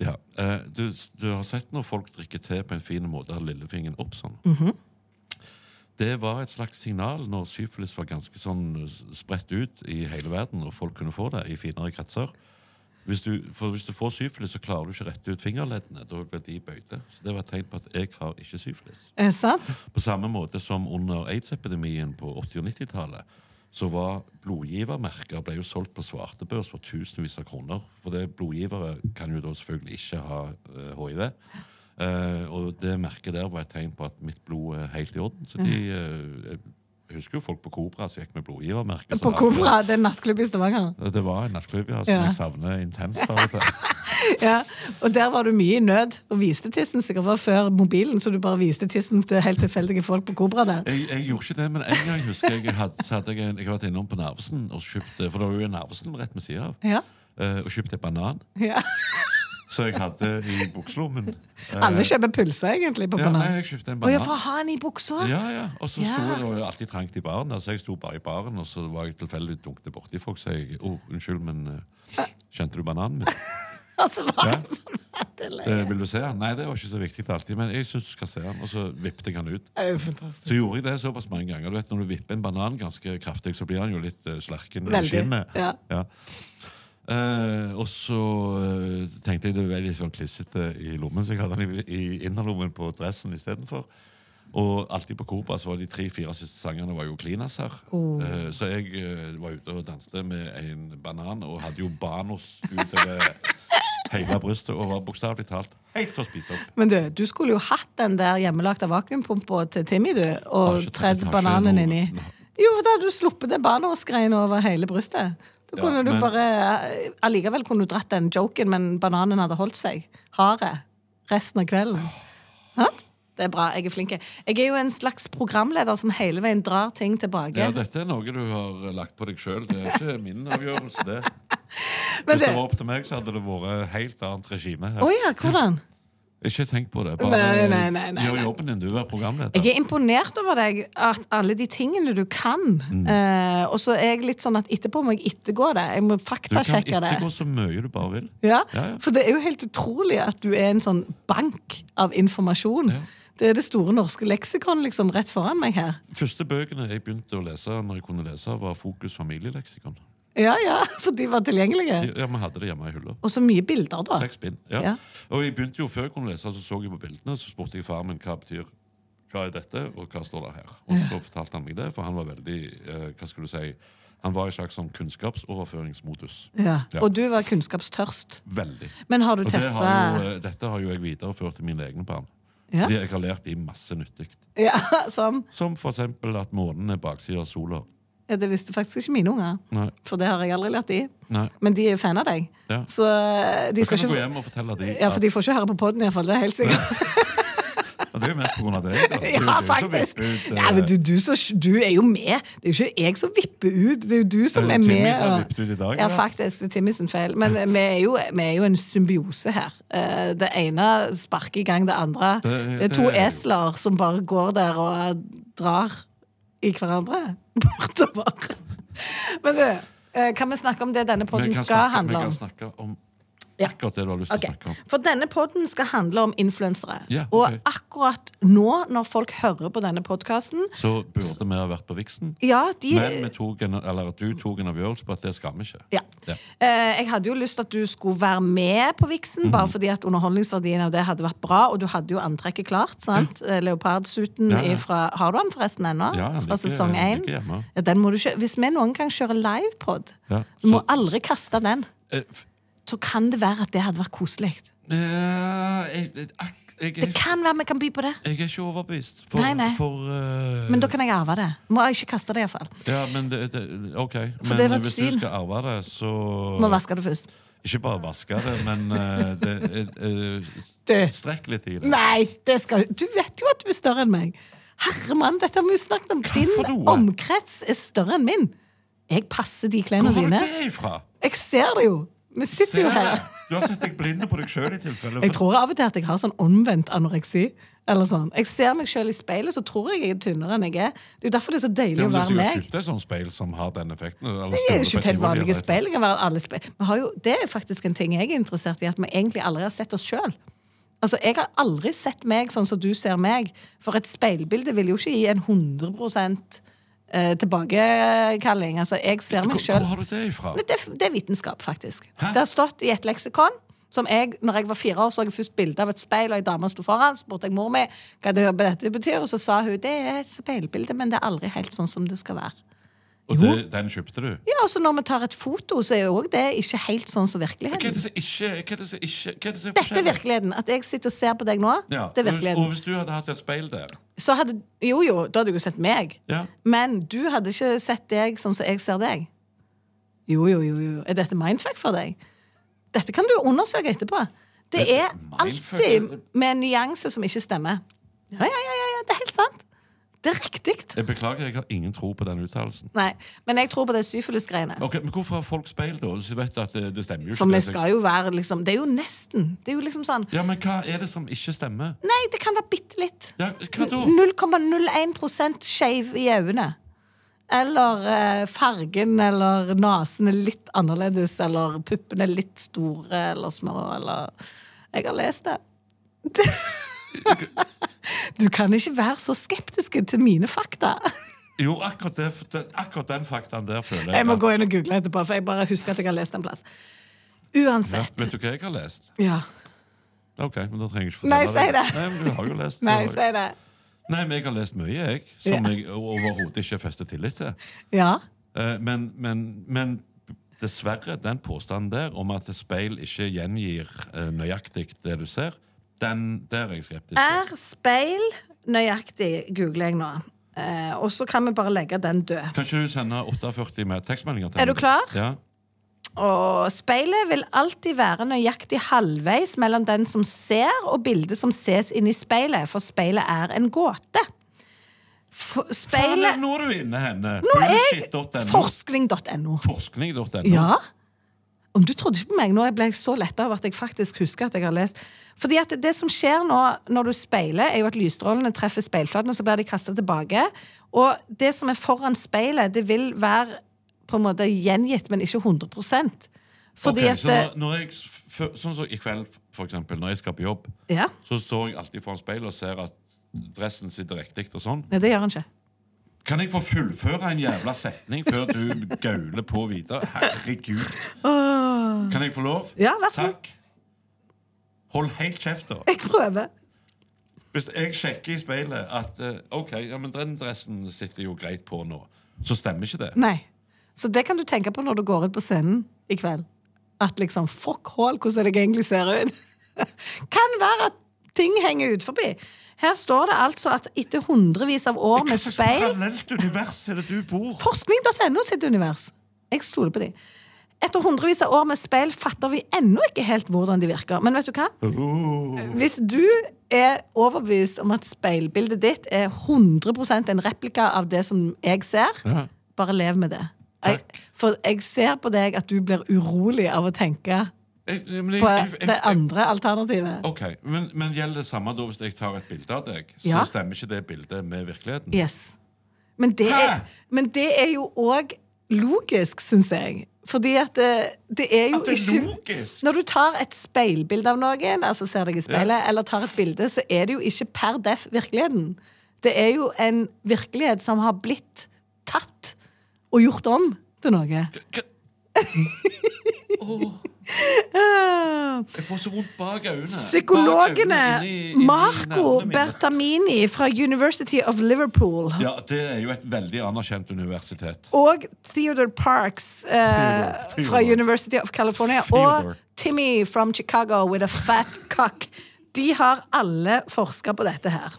S3: Ja. Eh, Du, du har sett når folk drikker te på en fin måte, har lillefingeren opp sånn. Det var et slags signal når syfilis var ganske sånn s- spredt ut i hele verden, og folk kunne få det i finere kretser. Hvis du, for hvis du får syfilis, så klarer du ikke å rette ut fingerleddene. Da blir de bøyde. Så det var et tegn på at jeg har ikke syfilis.
S2: Er det sant?
S3: På samme måte som under aids-epidemien på 80- og 90-tallet, så var blodgivermerker ble jo solgt på svartebørs for tusenvis av kroner. For det blodgivere kan jo da selvfølgelig ikke ha eh, hiv. Eh, og det merket der var et tegn på at mitt blod er helt i orden. Så de, eh, jeg husker jo folk på Kobra som gikk med blodgivermerker.
S2: På Kobra, det er nattklubb i Stavanger.
S3: Det var en nattklubb ja, som
S2: Ja.
S3: jeg savner intenst av og til.
S2: Ja. Og der var du mye i nød, og viste tissen sikkert var før mobilen, så du bare viste tissen til helt tilfeldige folk på Kobra der.
S3: Jeg, jeg gjorde ikke det, men en gang husker jeg hadde, så hadde jeg, en- jeg har vært innom på Narvesen og kjøpt For det var jo en Narvesen rett ved siden av.
S2: Ja.
S3: eh, og kjøpte en banan
S2: Ja.
S3: som jeg hadde i bukselommen.
S2: Alle kjøper pølser, egentlig, på
S3: Eh, Ja, nei,
S2: banan.
S3: jeg kjøpte en
S2: Å ja,
S3: banan.
S2: for å ha den i buksa?
S3: Ja, ja. Og så sto
S2: Ja.
S3: det jo alltid trangt i baren. Altså, jeg sto bare i baren, og så var jeg tilfeldig dunkte borti folk. Så jeg oh, 'Unnskyld, men eh, kjente du bananen min?'
S2: Altså, hva?
S3: Ja.
S2: Det er
S3: Eh,
S2: løye.
S3: 'Vil du se den?' Nei, det var ikke så viktig alltid, men jeg syns du skal se den. Og så vippet jeg den ut.
S2: Det er jo fantastisk.
S3: Så gjorde jeg det såpass mange ganger. Du vet, Når du vipper en banan ganske kraftig, så blir han jo litt eh, slerken i
S2: Veldig,
S3: skinnet.
S2: ja.
S3: Eh, og så eh, tenkte jeg det var litt sånn klissete i lommen, så jeg hadde den i, i innerlommen på dressen istedenfor. Og alltid på Cobra så var de tre-fire siste sangene var jo klinaser.
S2: Oh.
S3: Eh, så jeg eh, var ute og danste med en banan og hadde jo banos utover hele brystet og var bokstavelig talt helt til å spise opp.
S2: Men du, du skulle jo hatt den der hjemmelagte vakuumpumpa til Timmy, du,
S3: Har
S2: og
S3: ikke-
S2: tredd
S3: Ah, har ikke
S2: bananen
S3: noe-
S2: inni. Jo, for da hadde du sluppet den banerostgreien over hele brystet. Da
S3: Ja,
S2: kunne du
S3: men-
S2: bare eh, Allikevel kunne du dratt den joken, men bananen hadde holdt seg. Harde. Resten av kvelden. Sant? Det er bra. Jeg er flink. jeg. Jeg er jo en slags programleder som hele veien drar ting tilbake.
S3: eh, Ja, dette er noe du har lagt på deg sjøl. Det er ikke min avgjørelse, det.
S2: Men
S3: Hvis det
S2: det-
S3: var opp til meg, så hadde det vært helt annet regime. her.
S2: Å ja, hvordan?
S3: Ikke tenk på det. Bare
S2: Nei, nei, nei, nei,
S3: gjør
S2: nei.
S3: jobben din. Du er programleder.
S2: Jeg er imponert over deg, at alle de tingene du kan.
S3: Mm.
S2: Eh, og så er jeg litt sånn at etterpå må jeg ettergå det. Jeg må
S3: Du kan
S2: faktasjekke det.
S3: ettergå så mye du bare vil.
S2: Ja,
S3: Ja, ja.
S2: For det er jo helt utrolig at du er en sånn bank av informasjon. Det er det store norske leksikon liksom rett foran meg her.
S3: første bøkene jeg begynte å lese, når jeg kunne lese, var Fokus familieleksikon.
S2: Ja, ja, For de var tilgjengelige.
S3: Ja, Vi hadde det hjemme i hylla.
S2: Og så mye bilder, da.
S3: Seks bind. Ja.
S2: Ja.
S3: Og jeg begynte jo før jeg kunne lese, så så jeg på bildene, så spurte jeg faren min hva betyr hva er dette, og hva står det her. Og så fortalte han meg det, for han var veldig eh, Hva skal du si? Han var i slags sånn kunnskapsoverføringsmodus.
S2: Ja.
S3: Ja.
S2: Og du var kunnskapstørst.
S3: Veldig.
S2: Men har du
S3: Og det
S2: testa
S3: har jo, eh, dette har jo jeg videreført til mine egne barn.
S2: Ja.
S3: De, jeg har lært de masse nyttig.
S2: ja, som
S3: Som for eksempel at månen er baksida av sola.
S2: ja, Det visste faktisk ikke mine unger.
S3: Nei.
S2: For det har jeg aldri lært de.
S3: Nei.
S2: Men de er jo fan av deg.
S3: Ja.
S2: Så eh, de
S3: Da
S2: skal
S3: kan du gå
S2: ikke
S3: hjem og fortelle de
S2: Ja, for de får ikke høre på poden, iallfall. Det er helt sikkert.
S3: Og det er jo mest på grunn av deg, da. Det er jo
S2: Ja,
S3: du som
S2: faktisk.
S3: vipper ut, eh,
S2: Nei, men du, du, som- du er jo med. Det er jo ikke jeg som vipper ut, det er jo du som
S3: Er
S2: er
S3: det Timmy
S2: med.
S3: som
S2: og-
S3: vippet ut i dag,
S2: Ja,
S3: eller?
S2: faktisk. Det er Timmy sin feil. Men vi er jo, vi er jo en symbiose her. Eh, Det ene sparker i gang det andre.
S3: Det-
S2: Det er to
S3: det er jo-
S2: esler som bare går der og drar i hverandre bortover. Men du, eh, kan vi snakke om det denne
S3: vi
S2: podden
S3: kan
S2: skal
S3: snakke-
S2: handle om?
S3: Vi kan snakke om
S2: Ja.
S3: akkurat det du har lyst til
S2: Ok,
S3: å snakke om.
S2: For denne podden skal handle om influensere.
S3: Ja, ok.
S2: Og akkurat nå, når folk hører på denne podkasten
S3: Så burde vi ha vært på Vixen.
S2: Ja, de
S3: Men vi tok en, eller at du tok en avgjørelse på at det skal vi ikke.
S2: Ja.
S3: Ja.
S2: Eh, jeg hadde jo lyst til at du skulle være med på Vixen,
S3: Mhm.
S2: bare fordi at underholdningsverdien av det hadde vært bra, og du hadde jo antrekket klart. sant? Eh, Leopardsuten
S3: Ja, ja.
S2: ifra Har du den forresten ennå?
S3: Ja, den
S2: Fra
S3: ligger-
S2: sesong
S3: den
S2: én?
S3: ligger hjemme.
S2: Ja, den må du ikke Hvis vi noen gang kjører livepod,
S3: Ja,
S2: du må
S3: så-
S2: aldri kaste den.
S3: Eh, f-
S2: Så kan det være at det hadde vært koselig.
S3: eh, jeg, jeg, ak- jeg,
S2: Det
S3: er-
S2: kan være vi kan by på det.
S3: jeg er ikke overbevist. For,
S2: Nei, nei.
S3: For, eh,
S2: Men da kan jeg arve det. Må jeg ikke kaste det, iallfall.
S3: ja, men det, det, OK.
S2: For
S3: Men
S2: det var et
S3: hvis
S2: syn.
S3: du skal arve det, så
S2: Må vaske det først.
S3: Ikke bare vaske det, men eh, det, eh, eh,
S2: Du.
S3: strekk litt i det.
S2: Nei, det skal du vet jo at du er større enn meg. Herremann, dette har vi jo snakket om.
S3: for
S2: Din
S3: noe?
S2: omkrets er større enn min. Jeg passer de klærne
S3: Hvor var
S2: dine.
S3: det ifra?
S2: Jeg ser det jo. Vi sitter jo
S3: Ser
S2: her.
S3: jeg. Du har sett deg blinde på deg sjøl i tilfelle.
S2: Jeg tror av og til at jeg har sånn omvendt anoreksi. Eller sånn. Jeg ser meg sjøl i speilet, så tror jeg jeg er tynnere enn jeg er. Det er jo derfor det er så deilig
S3: Ja,
S2: å
S3: men
S2: være
S3: Du skal jo
S2: meg.
S3: kjøpe deg sånn speil som har den effekten. Eller
S2: Det er jo ikke helt vanlige speil. Det kan være alle speil. Vi har jo, det er faktisk en ting jeg er interessert i, at vi egentlig aldri har sett oss sjøl. Altså, Jeg har aldri sett meg sånn som du ser meg. For et speilbilde vil jo ikke gi en 100 eh, tilbakekalling. Altså, jeg ser meg
S3: Hvor,
S2: sjøl
S3: hvor har du det ifra?
S2: det, det er vitenskap, faktisk. Det har stått i et leksikon. Som jeg, når jeg var fire år, så jeg først bilde av et speil, og ei dame sto foran. Så spurte jeg mor mi hva det dette betyr, og så sa hun det er et speilbilde, men det er aldri helt sånn som det skal være.
S3: Og det, den kjøpte du?
S2: Ja, og så når vi tar et foto, så er jo også det ikke helt sånn som
S3: Hva er
S2: virkeligheten.
S3: det som ikke Hva er det som ikke Hva er det som
S2: Dette er virkeligheten. At jeg sitter og ser på deg nå,
S3: Ja.
S2: det er
S3: Og
S2: virkeligheten.
S3: hvis du hadde hatt et speil der
S2: Så hadde, jo, jo, da hadde du jo sett meg.
S3: Ja.
S2: Men du hadde ikke sett deg sånn som jeg ser deg. Jo, jo, jo. jo. Er dette mindfuck for deg? Dette kan du undersøke etterpå. Det
S3: Dette-
S2: er
S3: mindfuck?
S2: alltid med en nyanse som ikke stemmer. Ja, ja, ja, ja, ja, det er helt sant. Det er riktig.
S3: Jeg beklager, jeg har ingen tro på den uttalelsen.
S2: Nei, men jeg tror på det syfilis-greiene.
S3: Ok, men Hvorfor har folk speil, da? Så vet at eh, det, det stemmer jo ikke.
S2: For vi
S3: det.
S2: skal jo være liksom Det er jo nesten. Det er jo liksom sånn
S3: Ja, Men hva er det som ikke stemmer?
S2: Nei, det kan være bitte litt.
S3: Ja, hva da?
S2: 0,01 skeiv i øynene. Eller eh, fargen eller nesen er litt annerledes, eller puppene er litt store eller små, eller Jeg har lest det. Du kan ikke være så skeptisk til mine fakta.
S3: Jo, akkurat, det, det, akkurat den faktaen der føler jeg
S2: Jeg må
S3: at-
S2: gå inn og google etterpå, for jeg bare husker at jeg har lest en plass.
S3: ja,
S2: Uansett.
S3: Vet du hva jeg har lest?
S2: Ja.
S3: Ok, men da trenger jeg ikke
S2: Nei,
S3: fortelle
S2: si det.
S3: Nei, men du har jo lest
S2: Nei,
S3: du har-
S2: si det.
S3: Nei, men jeg har lest mye, jeg, som
S2: Ja.
S3: jeg overhodet ikke fester tillit til.
S2: Ja.
S3: Eh, Men, men, men dessverre, den påstanden der om at et speil ikke gjengir eh, nøyaktig det du ser, den der er jeg skeptisk. til.
S2: Er speil nøyaktig, googler jeg nå. Eh, og så kan vi bare legge den død.
S3: Kan ikke du sende 48 med tekstmeldinger til
S2: Er du
S3: meg?
S2: klar?
S3: Ja.
S2: Og speilet vil alltid være nøyaktig halvveis mellom den som ser, og bildet som ses inni speilet, for speilet er en gåte. For,
S3: Faen,
S2: speilet
S3: nå er du inne henne!
S2: Nå er jeg
S3: Bullshit.no.
S2: Forskning.no.
S3: Forskning.no.
S2: Ja. Om du trodde ikke på meg nå, jeg ble så letta over at jeg faktisk husker at jeg har lest. Fordi at det som skjer nå når du speiler, er jo at lysstrålene treffer speilflaten, og så blir de kasta tilbake. Og det som er foran speilet, det vil være på en måte gjengitt, men ikke 100 Fordi
S3: Ok,
S2: at
S3: så når, når jeg, f- før- Sånn som i kveld, for eksempel, når jeg skal på jobb,
S2: Ja.
S3: så står jeg alltid foran speilet og ser at dressen sitter riktig og sånn.
S2: Nei, det gjør han ikke.
S3: Kan jeg få fullføre en jævla setning før du gauler på videre? Herregud. Kan jeg få lov?
S2: Ah. Ja, vær så god. Eh.
S3: Takk. Hold helt kjeft, da.
S2: Jeg prøver.
S3: Hvis jeg sjekker i speilet at eh, OK, ja, men den dressen sitter jo greit på nå, så stemmer ikke det.
S2: Nei. Så det kan du tenke på når du går ut på scenen i kveld. At liksom, fuck all, hvordan jeg egentlig ser ut. kan være at ting henger ut forbi. Her står det altså at etter hundrevis av år
S3: Hva
S2: med
S3: slags
S2: speil
S3: parallelt univers er det du bor?
S2: Forskning.no sitt univers. Jeg stoler på de. Etter hundrevis av år med speil fatter vi ennå ikke helt hvordan de virker. Men vet du hva?
S3: Oh.
S2: Hvis du er overbevist om at speilbildet ditt er 100 en replika av det som jeg ser, bare lev med det. Jeg, for jeg ser på deg at du blir urolig av å tenke
S3: Jeg- jeg- men jeg-
S2: på
S3: jeg- jeg-
S2: det andre alternativet.
S3: Ok, men, men gjelder det samme da hvis jeg tar et bilde av deg? Så
S2: Ja.
S3: stemmer ikke det bildet med virkeligheten?
S2: Yes. Men det er,
S3: Hæ?
S2: men det er jo òg logisk, syns jeg. Fordi at det, det er jo
S3: At det er
S2: ikke
S3: logisk?
S2: Når du tar et speilbilde av noen, altså ser deg i speilet, eller tar et bilde, så er det jo ikke per def virkeligheten. Det er jo en virkelighet som har blitt tatt og gjort om til noe.
S3: Hva- Åh, jeg får så vondt bak øynene.
S2: Ah. Psykologene
S3: Bak øynene, inni- inni
S2: Marco
S3: nervene mine.
S2: Bertamini fra University of Liverpool
S3: Ja, det er jo et veldig anerkjent universitet.
S2: og Theodore Parks eh,
S3: Theodore.
S2: fra University of California
S3: Theodore.
S2: og Timmy from Chicago with a fat cock. De har alle forska på dette her.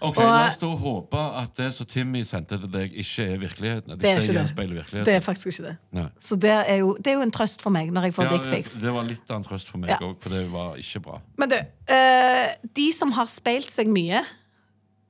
S3: Ok, La oss da håpe at det som Timmy sendte til deg, ikke er virkeligheten. At
S2: Det er
S3: ikke
S2: ikke det.
S3: gjenspeiler virkeligheten.
S2: Det er faktisk ikke det.
S3: Nei.
S2: Så det er, jo, det er jo en trøst for meg når jeg får
S3: Ja,
S2: dickpics.
S3: det var litt av en trøst for meg
S2: Ja.
S3: òg, for det var ikke bra.
S2: Men du, eh, de som har speilt seg mye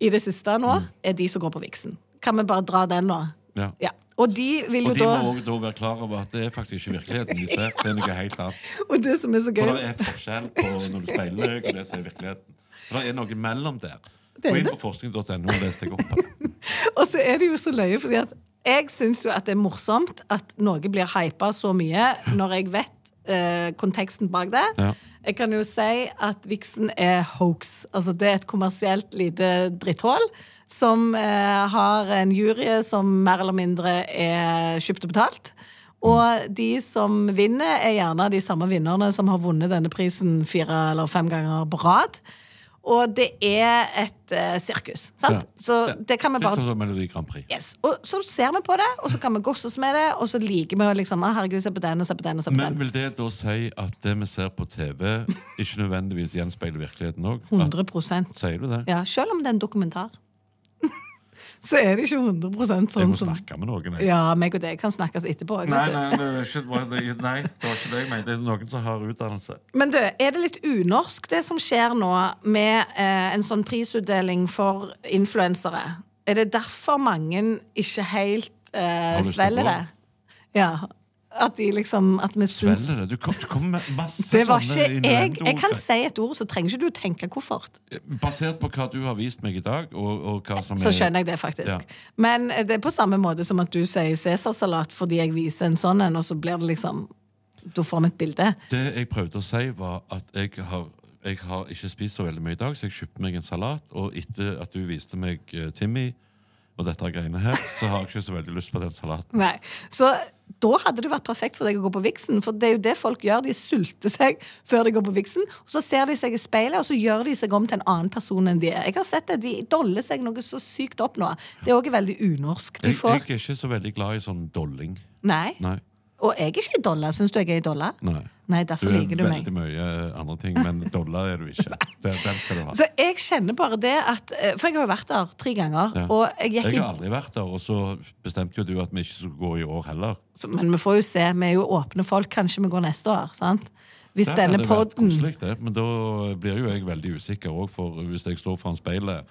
S2: i det siste nå,
S3: Mm.
S2: er de som går på Vixen. Kan vi bare dra den nå?
S3: Ja.
S2: Ja. Og de vil jo
S3: Og de
S2: da
S3: må også da være klar over at det er faktisk ikke virkeligheten de ser. Det er noe helt annet.
S2: Og det som er så gøy
S3: For det er forskjell på når du speiler deg, og det som er virkeligheten. For det er noe mellom der.
S2: er
S3: Gå inn
S2: det.
S3: på forskning.no og les deg opp. her.
S2: Og så er det jo så løye, fordi at jeg syns jo at det er morsomt at noe blir hypa så mye når jeg vet eh, konteksten bak det.
S3: Ja.
S2: Jeg kan jo si at Vixen er hoax. Altså det er et kommersielt lite dritthull som eh, har en jury som mer eller mindre er kjøpt og betalt. Og de som vinner, er gjerne de samme vinnerne som har vunnet denne prisen fire eller fem ganger på rad. Og det er et eh, sirkus, sant?
S3: Ja.
S2: Så det kan vi
S3: Litt
S2: bare
S3: sånn som Melodi Grand Prix.
S2: Yes. Og så ser vi på det, og så kan vi gosse oss med det, og så liker vi å liksom «Å, Herregud, se på den, og se på den, og se på
S3: Men
S2: den.
S3: vil det da si at det vi ser på TV, ikke nødvendigvis gjenspeiler virkeligheten
S2: Mm.
S3: òg?
S2: 100
S3: Sier du det?
S2: Ja, Selv om det er en dokumentar. så er det ikke 100
S3: Jeg
S2: sånn
S3: må
S2: som
S3: snakke med noen. jeg.
S2: Ja, meg og deg kan snakkes etterpå.
S3: Nei,
S2: vet du.
S3: nei, det er ikke, det var- nei, det var ikke det jeg mente. Det er noen som har utdannelse.
S2: Men du, er det litt unorsk, det som skjer nå, med eh, en sånn prisutdeling for influensere? Er det derfor mange ikke helt eh,
S3: Har lyst til å gå?
S2: svelger det? Ja. At de liksom At vi syns
S3: Velger det. Du kom- du kommer med masse
S2: Det var
S3: sånne
S2: ikke jeg.
S3: innuendo-
S2: Jeg kan si et ord, så trenger ikke du tenke koffert.
S3: Basert på hva du har vist meg i dag, og, og hva som
S2: Så skjønner jeg det, faktisk.
S3: Ja.
S2: Men eh, det er på samme måte som at du sier Cæsarsalat fordi jeg viser en sånn en, og så blir det liksom Da får vi et bilde.
S3: Det jeg prøvde å si, var at jeg har, jeg har ikke spist så veldig mye i dag, så jeg kjøpte meg en salat. Og etter at du viste meg eh, Timmy og dette greiene her, så har jeg ikke så veldig lyst på den salaten.
S2: Nei. Så da hadde det vært perfekt for deg å gå på Vixen, for det er jo det folk gjør. De sulter seg før de går på Vixen, og så ser de seg i speilet, og så gjør de seg om til en annen person enn de er. Jeg har sett det. De doller seg noe så sykt opp nå. Det er òg veldig unorsk. De
S3: Jeg, jeg
S2: får
S3: er ikke så veldig glad i sånn dolling.
S2: Nei.
S3: Nei.
S2: Og jeg er ikke i dollar. Syns du jeg er i dollar?
S3: Nei.
S2: Nei,
S3: Du
S2: derfor
S3: er
S2: liker du meg.
S3: veldig mye eh, andre ting, men dollar er du ikke. Den, den skal du ha.
S2: Så jeg kjenner bare det at eh, For jeg har jo vært der tre ganger.
S3: Ja.
S2: Og jeg gikk
S3: Jeg
S2: i,
S3: har aldri vært der, og så bestemte jo du at vi ikke skulle gå i år heller.
S2: så- Men vi får jo se. Vi er jo åpne folk. Kanskje vi går neste år. sant? Hvis
S3: Det
S2: denne
S3: hadde vært
S2: podden
S3: koselig, det, men da blir jo jeg veldig usikker òg, for hvis jeg står foran speilet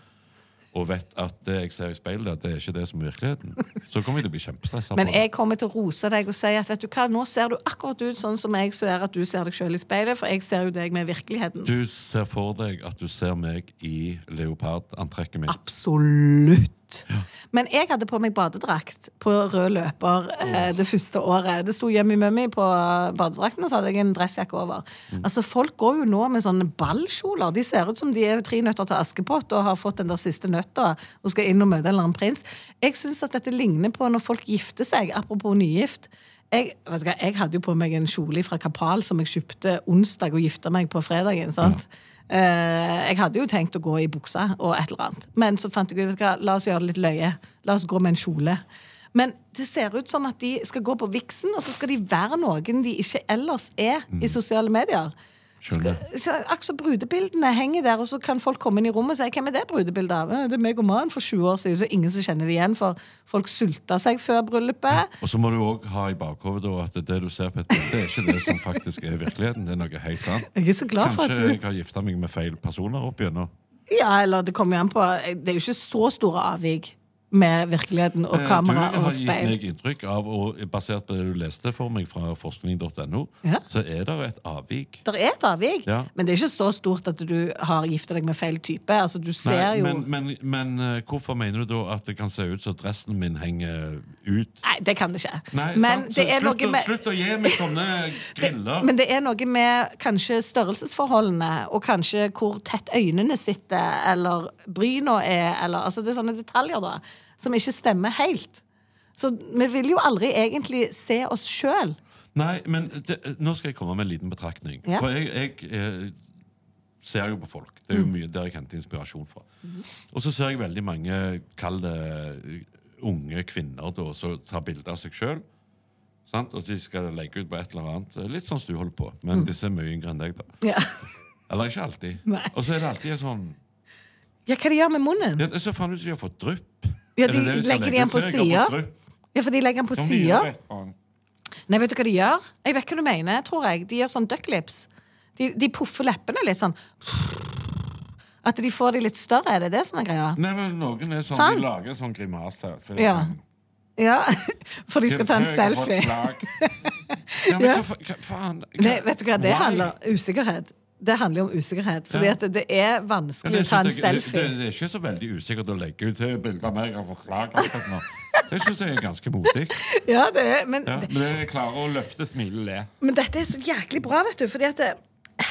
S3: og vet at det jeg ser i speilet, det er ikke det som er virkeligheten, så kommer jeg til å bli kjempestressa.
S2: Men jeg kommer til å rose deg og si at vet du hva, nå ser du akkurat ut sånn som jeg ser at du ser deg sjøl i speilet, for jeg ser jo deg med virkeligheten.
S3: Du ser for deg at du ser meg i leopardantrekket mitt.
S2: Absolutt. Men jeg hadde på meg badedrakt på rød løper eh, det første året. Det sto Yummy Mummy på badedrakten, og så hadde jeg en dressjakke over. Altså, Folk går jo nå med sånne ballkjoler. De ser ut som de er tre nøtter til Askepott og har fått den der siste nøtta og skal inn og møte en eller annen prins. Jeg syns at dette ligner på når folk gifter seg, apropos nygift. Jeg, vet du hva, jeg hadde jo på meg en kjole fra Kapal som jeg kjøpte onsdag og gifta meg på fredagen. sant? Eh, jeg hadde jo tenkt å gå i buksa og et eller annet. Men så fant jeg ut vet du hva, la oss gjøre det litt løye. La oss gå med en kjole. Men det ser ut som at de skal gå på viksen, og så skal de være noen de ikke ellers er i sosiale medier.
S3: Mm. Skjønner.
S2: Så Akkurat som brudebildene henger der, og så kan folk komme inn i rommet og si 'Hvem er det brudebildet av?' «Eh, 'Det er meg og mannen for 20 år siden.' Så ingen som kjenner det igjen, for folk sulta seg før bryllupet.
S3: Og så må du òg ha i bakhodet da, at det du ser på et bilde, er ikke det som faktisk er virkeligheten. Det er noe helt annet.
S2: Jeg er så glad for at
S3: Kanskje
S2: du
S3: jeg har gifta meg med feil personer opp igjennom.
S2: Ja, eller det kommer jo an på Det er jo ikke så store avvik med virkeligheten og Eh, kamera
S3: Eh, du
S2: og
S3: har gitt
S2: speil.
S3: meg inntrykk av, og basert på det du leste for meg fra forskning.no,
S2: Ja.
S3: så er det et avvik.
S2: Det er et avvik,
S3: Ja.
S2: men det er ikke så stort at du har gifta deg med feil type. Altså, du ser
S3: Nei,
S2: jo
S3: men, men, men eh, hvorfor mener du da at det kan se ut som dressen min henger ut?
S2: Nei, det kan det ikke.
S3: Nei,
S2: men,
S3: sant? Så
S2: det er
S3: slutt,
S2: noe
S3: å-
S2: med,
S3: slutt å gi meg sånne griller.
S2: men det er noe med kanskje størrelsesforholdene, og kanskje hvor tett øynene sitter, eller bryna er, eller altså, Det er sånne detaljer da, som ikke stemmer helt. Så vi vil jo aldri egentlig se oss sjøl.
S3: Nei, men det, nå skal jeg komme med en liten betraktning.
S2: Ja.
S3: For jeg, jeg eh, ser jo på folk.
S2: Mm.
S3: Det er jo mye der jeg henter inspirasjon fra.
S2: Mhm.
S3: Og så ser jeg veldig mange, kall det eh, unge kvinner, da, som tar bilder av seg sjøl. Og de skal legge ut på et eller annet. Litt sånn som du holder på.
S2: Mm.
S3: Men disse er mye yngre enn deg, da.
S2: Ja.
S3: Eller ikke alltid.
S2: Nei.
S3: Og så er det alltid en sånn
S2: ja, hva de gjør med munnen?
S3: ja, Det ser faen ut som de har fått drypp.
S2: Ja,
S3: Er det
S2: de
S3: det
S2: legger
S3: skal legge
S2: de den
S3: ut?
S2: på
S3: Se, jeg har fått
S2: siden.
S3: drypp.
S2: Ja, for de legger den på
S3: Som de
S2: sida.
S3: gjør, vet faen.
S2: Nei, vet du hva de gjør? Jeg vet hva du mener, tror jeg. De gjør sånn ducklips. De, de puffer leppene litt sånn. At de får de litt større, er det det som er greia?
S3: Nei, men Noen er sånn,
S2: Sant.
S3: de lager en sånn grimase. her, så det er
S2: Ja.
S3: sånn-
S2: Ja, For de
S3: Jeg
S2: skal ta en selfie.
S3: Ja, men hva, fa- hva faen? Hva-
S2: Nei, vet du hva det
S3: Why?
S2: handler om? Usikkerhet. Det handler jo om usikkerhet. Fordi
S3: Ja.
S2: at det- det er
S3: Ja,
S2: vanskelig
S3: det
S2: å ta en
S3: synes jeg- Det,
S2: selfie.
S3: det, det er ikke så veldig usikkert å legge ut eh, bilder av meg og forslag. akkurat nå. Det syns jeg er ganske modig.
S2: Ja, det er, men,
S3: Ja, men jeg klarer å løfte, smile, le.
S2: Men dette er så jæklig bra, vet du. Fordi at det,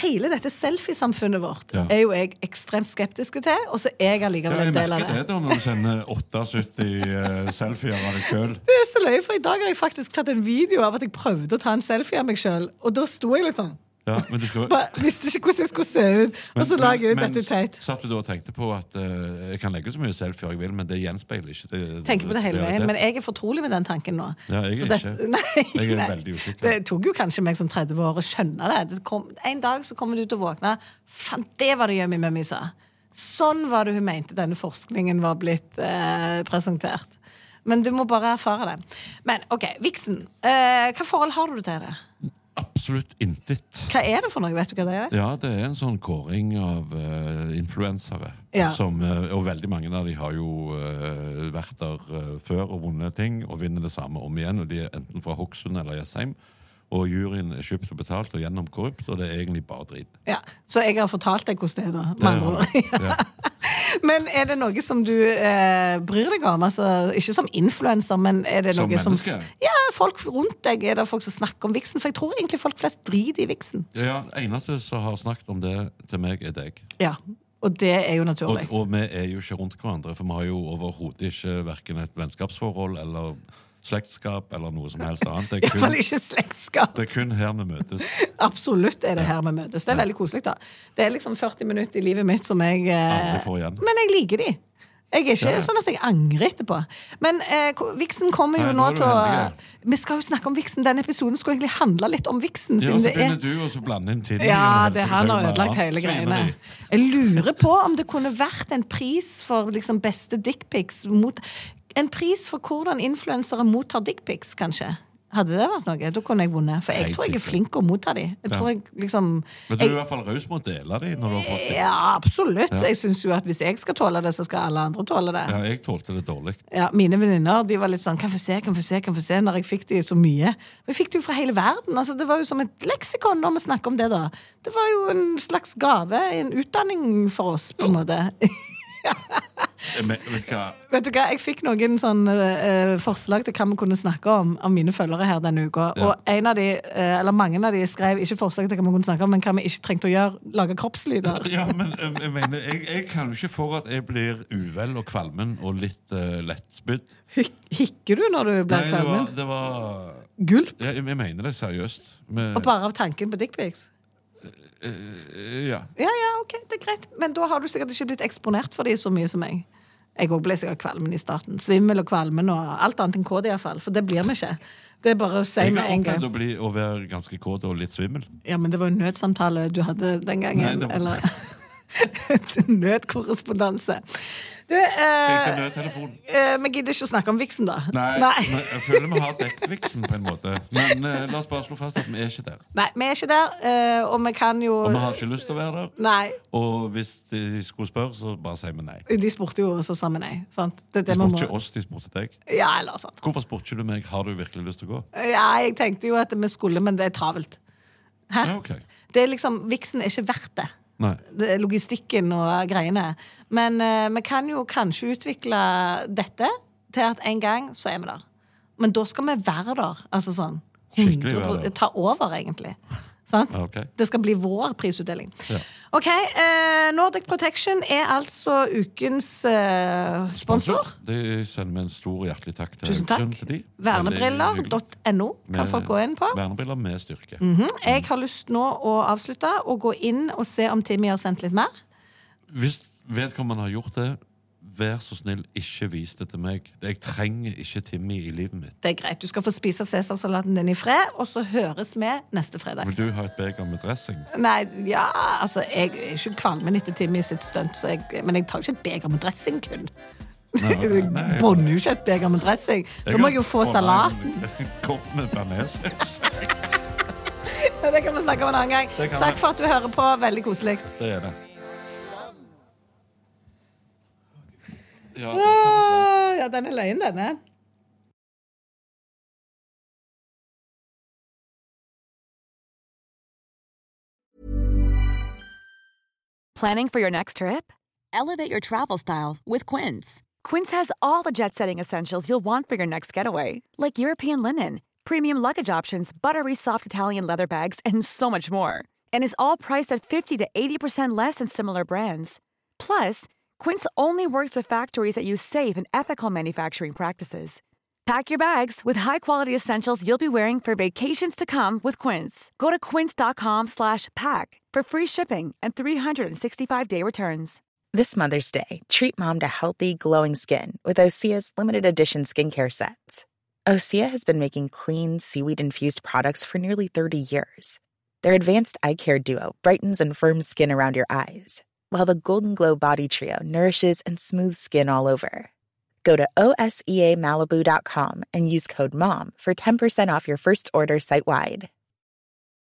S2: hele dette selfiesamfunnet vårt
S3: Ja.
S2: er jo jeg ekstremt skeptiske til, og så er jeg
S3: Ja,
S2: allikevel
S3: jeg
S2: en del av
S3: merker
S2: det.
S3: det da når du sender 78 eh, selfier av deg sjøl.
S2: Det er så løye, for i dag har jeg faktisk tatt en video av at jeg prøvde å ta en selfie av meg sjøl, og da sto jeg litt sånn.
S3: Ja, men du skal
S2: Bare visste ikke hvordan jeg skulle se ut. Og så la jeg ut dette er teit.
S3: Satt du da og tenkte på at eh, jeg kan legge ut så mye selfier jeg vil, men det gjenspeiler ikke det,
S2: Tenker på det hele veien,
S3: realiteten.
S2: men jeg er fortrolig med den tanken nå.
S3: Ja, jeg er
S2: For dette-
S3: ikke.
S2: Nei,
S3: Jeg er
S2: nei.
S3: veldig usikker.
S2: Det tok jo kanskje meg som 30 år å skjønne det. det kom, en dag så kommer du til å våkne Faen, det var det Yummy Mummy sa! Sånn var det hun mente denne forskningen var blitt eh, presentert. Men du må bare erfare det. Men OK, viksen. Eh, hva forhold har du til det?
S3: Absolutt intet.
S2: Hva er det for noe? Vet du hva det er?
S3: Ja, det er en sånn kåring av eh, influensere.
S2: Ja.
S3: Som, eh, og veldig mange av de har jo eh, vært der eh, før og vunnet ting, og vinner det samme om igjen. Og de er enten fra Hokksund eller Jessheim. Og juryen er kjøpt og betalt og gjennomkorrupt, og det er egentlig bare drit.
S2: Ja, Så jeg har fortalt deg hvordan det er, da. Med
S3: Det
S2: andre
S3: har-
S2: ord.
S3: ja.
S2: Men er det noe som du eh, bryr deg om? Altså, ikke som influenser, men er det
S3: Som
S2: noe som
S3: menneske?
S2: Ja, folk rundt deg. Er det folk som snakker om viksen? For jeg tror egentlig folk flest driter i viksen.
S3: ja, Eneste som har snakket om det til meg, er deg.
S2: Ja, Og det er jo
S3: Og,
S2: naturlig.
S3: og vi er jo ikke rundt hverandre, for vi har jo overhodet ikke verken et vennskapsforhold eller slektskap eller noe som helst annet. Det er
S2: Iallfall
S3: kun,
S2: ikke slektskap.
S3: det er kun her vi møtes.
S2: Absolutt er det her vi møtes. Det er veldig koselig, da. Det er liksom 40 minutter i livet mitt som jeg eh,
S3: Aldri får igjen.
S2: Men jeg liker de. Jeg er ikke
S3: Ja, ja.
S2: sånn at jeg angrer etterpå. Men eh, ko- viksen kommer jo
S3: Nei,
S2: nå
S3: nå er du
S2: til å
S3: heldig,
S2: Vi skal jo snakke om viksen. Den episoden skulle egentlig handle litt om viksen.
S3: Ja,
S2: siden
S3: altså, og så
S2: det er
S3: begynner du og så blander inn Tinder.
S2: Ja,
S3: Jonas,
S2: det
S3: så
S2: han
S3: jeg
S2: har
S3: bare,
S2: ødelagt hele
S3: svineri.
S2: greiene. Jeg lurer på om det kunne vært en pris for liksom beste dickpics mot En pris for hvordan influensere mottar dickpics, kanskje. Hadde det vært noe, da kunne jeg vunnet. For jeg
S3: Helt
S2: tror jeg er
S3: sikkert.
S2: flink til å motta de. Jeg tror jeg liksom
S3: Men du er i hvert fall raus med å dele dem når du har fått dem.
S2: Ja, absolutt. Jeg synes jo at hvis jeg skal tåle det, så skal alle andre tåle det.
S3: Ja, jeg tålte det dårlig.
S2: Ja, mine venninner de var litt sånn 'Kan få se, kan få se', kan få se, når jeg fikk de så mye. Men jeg fikk det jo fra hele verden. altså Det var jo som et leksikon, når vi snakker om det, da. Det var jo en slags gave, en utdanning for oss, på en måte.
S3: Men, vet du hva?
S2: Vet du hva, Jeg fikk noen sånne eh, forslag til hva vi kunne snakke om av mine følgere her denne uka.
S3: Ja.
S2: Og en av de, eh, eller mange av de skrev ikke forslag til hva vi kunne snakke om, men hva vi ikke trengte å gjøre. Lage kroppslyder.
S3: Ja, men eh, jeg mener, jeg, jeg kan jo ikke for at jeg blir uvel og kvalmen og litt uh, lettspydd.
S2: Hik hikker du når du
S3: Nei,
S2: blir
S3: det var,
S2: kvalm?
S3: det var
S2: Gulp?
S3: ja, Jeg jeg mener det seriøst. Men,
S2: Og bare av tanken på dickpics?
S3: ja.
S2: Ja, ja, ok, det er greit. Men da har du sikkert ikke blitt eksponert for de så mye som meg. Jeg òg ble sikkert kvalmen i starten. Svimmel og kvalmen og alt annet enn kåt, iallfall. For det blir vi ikke. Det er bare å si
S3: Jeg
S2: med
S3: har
S2: en
S3: opplevd
S2: gang.
S3: å, bli, å være ganske kåt og litt svimmel.
S2: Ja, men det var jo nødsamtale du hadde den
S3: Nei,
S2: gangen.
S3: det var-
S2: Eller nødkorrespondanse. Du,
S3: Jeg tar
S2: eh,
S3: nødtelefonen.
S2: eh, vi gidder ikke å snakke om viksen, da.
S3: Nei,
S2: Nei.
S3: men jeg føler vi har dekket viksen på en måte. Men eh, la oss bare slå fast at vi er ikke der.
S2: Nei, vi er ikke der, eh, og vi kan jo
S3: Og vi har ikke lyst til å være der.
S2: Nei.
S3: Og hvis de skulle spørre, så bare sier vi nei.
S2: De spurte jo, og så sa vi nei. Sant? Det er
S3: De
S2: det vi
S3: spurte ikke
S2: må
S3: oss, de spurte deg.
S2: Ja, eller sånn. sant.
S3: Hvorfor spurte ikke du meg har du virkelig lyst til å gå?
S2: Ja, jeg tenkte jo at vi skulle, men det er travelt. Hæ?
S3: Ja, ok.
S2: Det er liksom, Viksen er ikke verdt det.
S3: Nei.
S2: Det er Logistikken og greiene. Men eh, vi kan jo kanskje utvikle dette til at en gang så er vi der. Men da skal vi være der. Altså sånn.
S3: Skikkelig være der.
S2: Ta over, egentlig. Sant?
S3: Ja, ok.
S2: Det skal bli vår prisutdeling.
S3: Ja.
S2: OK. eh, Nordic Protection er altså ukens eh, sponsor.
S3: Det sender vi en stor hjertelig takk til.
S2: Tusen takk.
S3: Haugesund Til de. Veldig hyggelig.
S2: Vernebriller.no kan
S3: Med-
S2: folk gå inn på. Mhm.
S3: Vernebriller med styrke.
S2: Jeg har lyst nå å avslutte og gå inn og se om Timmy har sendt litt mer.
S3: Hvis vedkommende har gjort det, vær så snill, ikke vis det til meg. Jeg trenger ikke Timmy i livet mitt.
S2: Det er greit. Du skal få spise Cæsarsalaten din i fred, og så høres vi neste fredag.
S3: Vil du ha et beger med dressing?
S2: Nei, ja, altså, jeg er ikke kvalmen etter Timmy sitt stunt, så jeg, men jeg tar jo ikke et beger med dressing kun.
S3: Nei,
S2: Jeg
S3: nei, nei.
S2: bånder jo ikke et beger med dressing. Da må jeg jo få
S3: kan
S2: salaten.
S3: ordne en Kopp med bearnéssaus.
S2: Ja, Det kan vi snakke om en annen gang.
S3: Det kan
S2: Takk
S3: vi.
S2: for at du hører på. Veldig koselig.
S3: Det er det. Ja, det kan du si.
S2: Å, Ja, den er løgn, denne.
S5: Planning for your next trip? Elevate your travel style with Quince. Quince has all the jet setting essentials you'll want for your next getaway, like European linen, premium luggage options, buttery soft Italian leather bags, and so much more. And is all priced at 50 to 80% less than similar brands. Plus, Quince only works with factories that use safe and ethical manufacturing practices. Pack your bags with high-quality essentials you'll be wearing for vacations to come with Quince. Go to quince.com/pack for free shipping and 365-day returns.
S6: This Mother's Day, treat mom to healthy, glowing skin with Osea's limited edition skincare sets. Osea has been making clean, seaweed infused products for nearly 30 years. Their advanced eye care duo brightens and firms skin around your eyes, while the Golden Glow Body Trio nourishes and smooths skin all over. Go to E OSEAMalibu.com and use code MOM for 10% off your first order site wide.